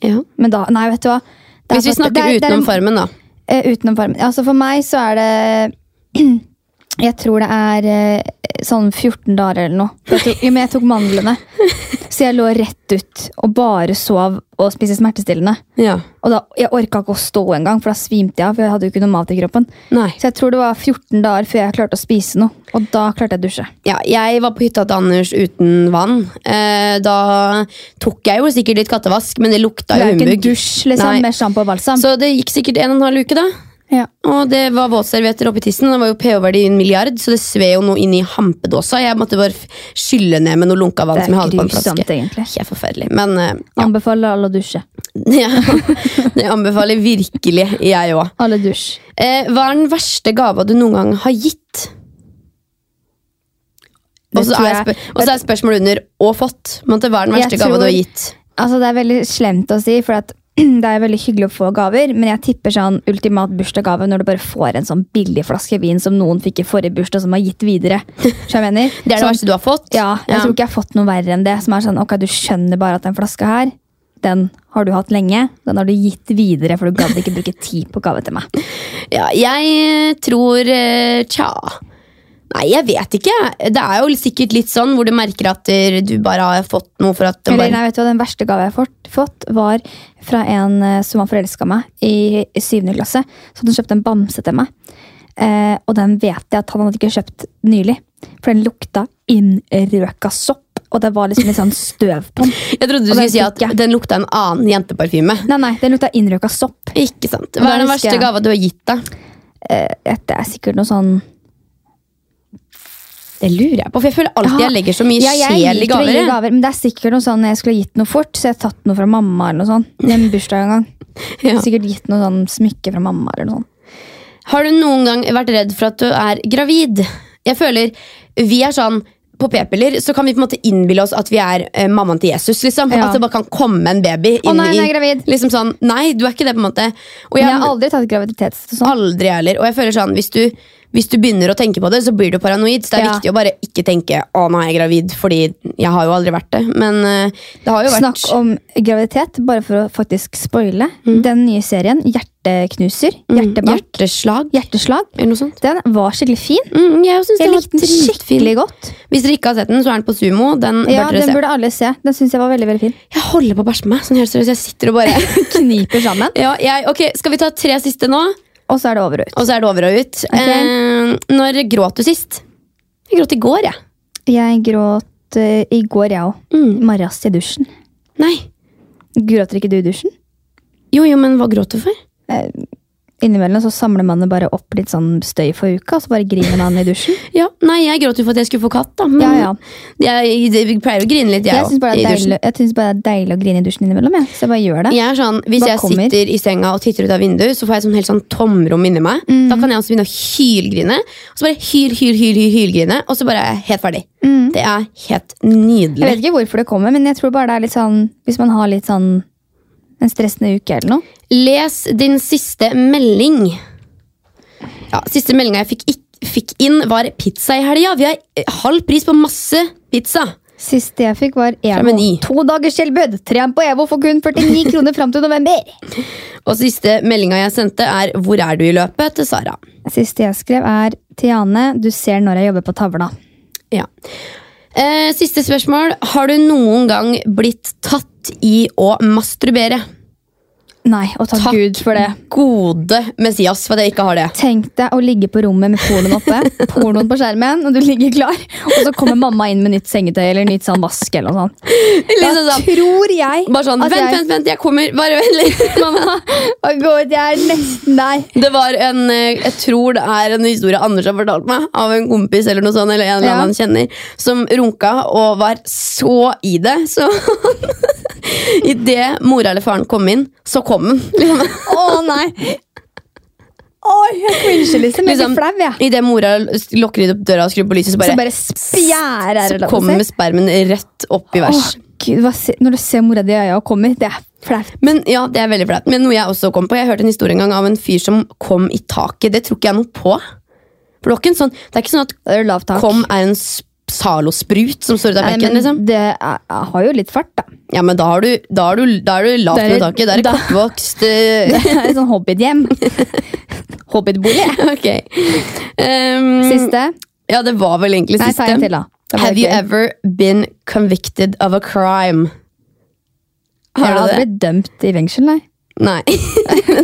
ja.
Men da, nei, vet du hva? Det er
Hvis vi
for-
snakker
det er- det er
utenom
en-
formen, da.
eh, utenom formen. Altså For meg så er det Jeg tror det er eh, sånn 14 dager eller noe. For Jeg tok, ja, men jeg tok mandlene. Så jeg lå rett ut og bare sov og spiste smertestillende.
Ja.
Og da, Jeg orka ikke å stå engang, for da svimte jeg av. For jeg hadde jo ikke noe mat i kroppen.
Nei.
Så jeg tror det var 14 dager før jeg klarte å spise noe. Og da klarte jeg å dusje.
Ja, jeg var på hytta til Anders uten vann. Eh, da tok jeg jo sikkert litt kattevask, men det lukta
Det
jo
er jo ikke en
humbug.
dusj liksom,
Nei.
med sjampo og balsam.
Så det gikk sikkert en og en halv uke, da.
Ja.
Og det var våtservietter oppi tissen. og Det var jo pH-verdi i en milliard, så det sved jo noe inn i hampedåsa. Jeg måtte bare f- skylle ned med noe lunka vann
Det
som jeg
er
hadde på en
grusomt,
flaske.
egentlig.
Helt forferdelig. Men eh,
Anbefaler alle å dusje.
ja. det anbefaler virkelig jeg òg.
Alle dusj.
Eh, hva er den verste gava du noen gang har gitt?
Det
Og så
tror
er,
jeg-
spør og så er spørsmålet under 'og fått'. Men det- hva er den
Jeg
verste gava du har
tror-
gitt?
Altså, det er veldig slemt å si, for at det er veldig hyggelig å få gaver, men jeg tipper sånn ultimat bursdagsgave når du bare får en sånn billig flaske vin som noen fikk i forrige bursdag, som har gitt videre. Så jeg mener.
Det er det
sånn,
verste du har fått?
ja, jeg tror ikke jeg har fått noe verre enn det. Som er sånn, ok, du skjønner bare at den flaska her, den har du hatt lenge. Den har du gitt videre, for du gadd ikke bruke tid på gave til meg.
Ja, jeg tror eh, Tja. Nei, jeg vet ikke. Det er jo sikkert litt sånn hvor du merker at eh, du bare har fått noe for at det
Eller,
bare
nei, vet du hva, Den verste gave jeg har fått, fått, var fra en eh, som var forelska meg i i syvende klasse. Så hadde hun kjøpt en bamse til meg. Eh, og den vet jeg at han hadde ikke kjøpt nylig. For den lukta innrøka sopp, og det var liksom litt sånn støv på den.
Jeg trodde du
Og den
skulle si at
fikk jeg.
den lukta en annen jenteparfyme.
Nei, nei, den lukta innrøka sopp.
Ikke sant.
da
Hva er den
husker
verste
jeg-
gava du har gitt, da?
Eh, det er sikkert noe sånn
Det lurer jeg på, for jeg føler alltid
Ja.
jeg legger så mye
Ja, jeg
sjel i
liker å
gaver.
gi
jeg.
gaver. Men det er sikkert noe sånn jeg skulle ha gitt noe fort, så jeg har tatt noe fra mamma eller noe sånt. I en bursdag en gang.
Ja.
Sikkert gitt noe sånn smykke fra mamma eller noe sånt.
Har du noen gang vært redd for at du er gravid? Jeg føler vi er sånn på p-piller så kan vi på en måte innbille oss at vi er eh, mammaen til Jesus. liksom
Ja.
At det bare kan komme en baby inn
Å nei,
i
hun er gravid.
Liksom sånn, Nei, du er ikke det, på en måte. Og
Men
jeg,
jeg har aldri tatt graviditetstest og sånn.
aldri heller. Og jeg føler sånn, hvis du, hvis du begynner å tenke på det, så blir du paranoid. Så det er
Ja.
viktig å bare ikke tenke 'Å, nå er jeg gravid', fordi jeg har jo aldri vært det. Men eh, det har jo vært
Snakk om graviditet, bare for å faktisk spoile.
Mm.
Den nye serien, Hjerteknuser, Hjertebank,
hjerteslag
Hjerteslag,
eller noe sånt.
den var skikkelig fin.
Mm, jeg synes
Jeg
den var
likte den
dritfin.
skikkelig godt.
Hvis dere ikke har sett den, så er den på Sumo. Den
Ja,
bør dere
Den
se.
burde alle se. Den syns jeg var veldig veldig fin.
Jeg holder på å bæsje på meg. Sånn helt seriøst, jeg sitter og bare
Kniper sammen,
ja, jeg, Ok, Skal vi ta tre siste nå, og
og så er det over og ut.
så er det over og ut?
Ok.
Eh, når gråt du sist? Jeg gråt i går, jeg.
Jeg gråt eh, i går, jeg òg.
Mm.
Marras i dusjen.
Nei.
Gråter ikke du i dusjen?
Jo, jo, men hva gråt du for?
Eh, eh, innimellom så samler man det bare opp litt sånn støy for uka, og så bare griner man i dusjen.
Ja, nei, jeg gråt jo for at jeg skulle få katt, da. Men
Ja, ja.
Jeg, jeg pleier å grine litt, jeg
Jeg syns bare, det
også,
er
i dusjen.
deilig- jeg synes bare det er deilig å grine i dusjen innimellom. Jeg. Så jeg bare gjør det.
Jeg er sånn, Hvis
Hva
jeg
kommer?
sitter i senga og titter ut av vinduet, så får jeg sånn helt sånn tomrom inni meg. Da kan jeg også begynne å hylgrine. Og så bare hyl, hyl, hyl, hyl, hylgrine, og så bare er jeg helt ferdig. Det er helt
Jeg
nydelig.
vet ikke hvorfor det kommer, men jeg tror bare det er litt sånn Hvis man har litt sånn en stressende uke eller noe.
Les din siste melding. Ja, Siste meldinga jeg fikk, ikk- fikk inn, var pizza i helga. Vi har eh, halv pris på masse pizza.
Siste jeg fikk, var
Fra
EVO.
Meny.
To dagers tilbud! Tren på EVO for kun 49 kroner fram til november.
Og siste meldinga jeg sendte, er 'Hvor er du i løpet?' til Sara.
Siste jeg skrev, er Tiane, du ser når jeg jobber på tavla.
Ja. Eh, siste spørsmål. Har du noen gang blitt tatt i å masturbere?
Nei, og takk,
Takk.
Gud for det.
Gode Messias for at jeg ikke har det.
Tenk deg å ligge på rommet med pornoen oppe, pornoen på skjermen, og du ligger klar, og så kommer mamma inn med nytt sengetøy eller nytt sånn vask eller noe sånt.
Liksom
Da
sånn,
tror jeg
bare sånn,
at
vent,
jeg
vent, vent, jeg kommer. Bare vent litt. Mamma.
Å, Gud, jeg er nesten der.
Det var en, eh, jeg tror det er en historie Anders har fortalt meg, av en kompis eller noe sånt, eller en eller
Ja.
annen han kjenner, som runka og var så i det. Så idet mora eller faren kom inn, så kom han. Liksom.
Å nei! Oi, jeg crincher liksom. Jeg
Liksom,
blir flau, jeg.
Idet mora lukker litt opp døra og skrur på lyset, så
Så
bare
bare spjærer
Så kommer spermen rett opp i vers.
Gud, hva se, Når du ser mora di i øya og kommer, det er flaut.
Men ja, det er veldig flaut. Men noe jeg også kom på, jeg hørte en historie en gang av en fyr som kom i taket. Det tror ikke jeg noe på. For det, var ikke en sånn, det er ikke sånn at
Da er det lavt tak.
kom er en s- salosprut som står ut av
Nei,
bekken.
men
Liksom.
det er, jeg har jo litt fart, da.
Ja, men da har du, da har du, da er du lavt
Da er
med
det-
taket. Da er det
da-
kortvokst eh,
Det er et sånn hobbithjem. Hobbitbolig.
Ok. Um,
Siste.
Ja, det var vel egentlig
Nei,
siste.
ta en til, da. Det var
Have you
gøy.
ever been convicted of a crime? Har
jeg
du
har
det?
aldri blitt dømt i fengsel, nei.
Nei.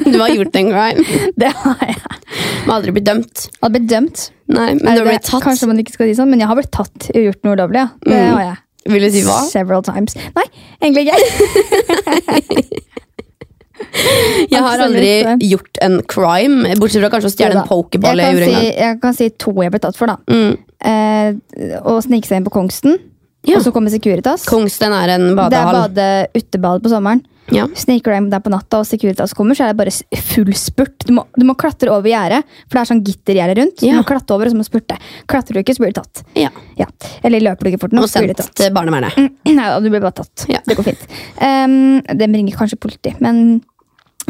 du har gjort en crime.
Det har jeg.
Man har aldri blitt dømt.
Jeg har blitt dømt.
Nei, men
Er
du har
det-
blitt tatt.
Kanskje man ikke skal si sånn, men jeg har blitt tatt og gjort noe ulovlig, ja. Det
Mm.
har jeg.
Vil du si hva?
Several times. Nei, egentlig ikke.
Jeg har aldri
Absolutt, nei.
gjort en crime, bortsett fra kanskje å
Jo
stjele
da.
en pokerball jeg
Jeg kan
gjorde en gang.
si- Jeg kan si to jeg ble tatt for, da.
Mm.
Eh, å snike seg inn på Kongsten,
Ja.
og så komme Securitas.
Kongsten er en
det er
badehall.
bade, utebad på sommeren.
ja.
Sniker deg inn der på natta, og Securitas kommer, så er det bare s- full spurt. Du må, du må klatre over gjerdet, for det er sånn gittergjerde rundt.
Ja.
Du må klatre over, og så må du spurte. Klatrer du ikke, så blir du tatt.
ja.
Ja. Eller løper du ikke fort
Og
nok, så blir du
sendt
tatt.
til barnevernet.
Mm, Nei, da, du blir bare tatt.
Ja.
Det går fint. Um, det bringer kanskje politi, men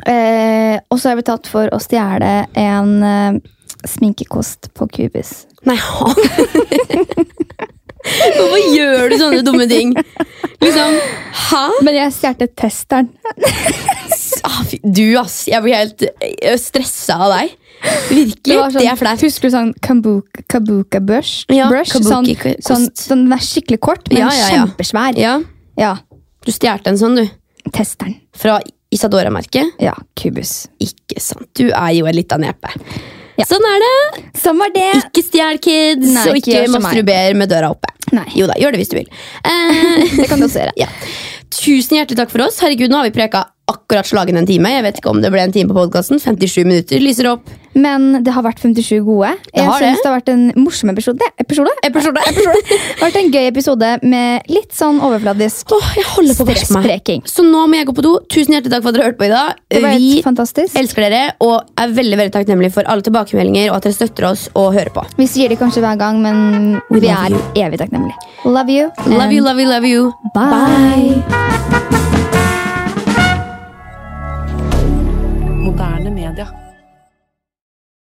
eh, Og så er vi tatt for å stjele en eh, sminkekost på Cubis.
Nei, ha. Hvorfor gjør du sånne dumme ting? Liksom, hæ?
Men jeg stjal testeren.
Ah, fy- Du, ass. Jeg blir helt eh, stressa av deg.
Det
Virkelig.
var sånn,
Det er flaut.
Husker du sånn kabuka, kabuka brush?
Ja,
brush
kabuki
sånn,
kost.
sånn, sånn, den er skikkelig kort, men
Ja, ja, ja.
kjempesvær.
Ja,
Ja,
du stjal en sånn, du.
Testeren.
Fra Isadora-merket.
Ja, Cubus.
Ikke sant. Du er jo en lita nepe.
Ja.
Sånn er det.
Sånn var det!
Ikke stjel kids,
Nei,
og
ikke
ikke
gjør som meg.
masturber med døra oppe.
Nei.
Jo da, gjør det hvis du vil. Eh,
Det kan du også gjøre.
ja. Tusen hjertelig takk for oss. Herregud, nå har vi preka akkurat slagen en time. Jeg vet ikke om det ble en time på podkasten. 57 minutter lyser opp.
Men det har vært 57 gode. Jeg
har det.
synes det har vært en morsom episode. episode?
Episode.
Det har vært en gøy episode med litt sånn overfladisk
Åh, jeg holder på å verse meg.
stresspreking.
Så nå må jeg gå på do. Tusen hjertelig takk for at dere hørte på i dag.
Det var
Vi
helt fantastisk.
elsker dere og er veldig veldig takknemlige for alle tilbakemeldinger og at dere støtter oss og hører på.
Vi sier det kanskje hver gang, men
We
vi
love
er evig takknemlige. Love you.
Love you,
and
love you, love you.
bye.
Moderne media.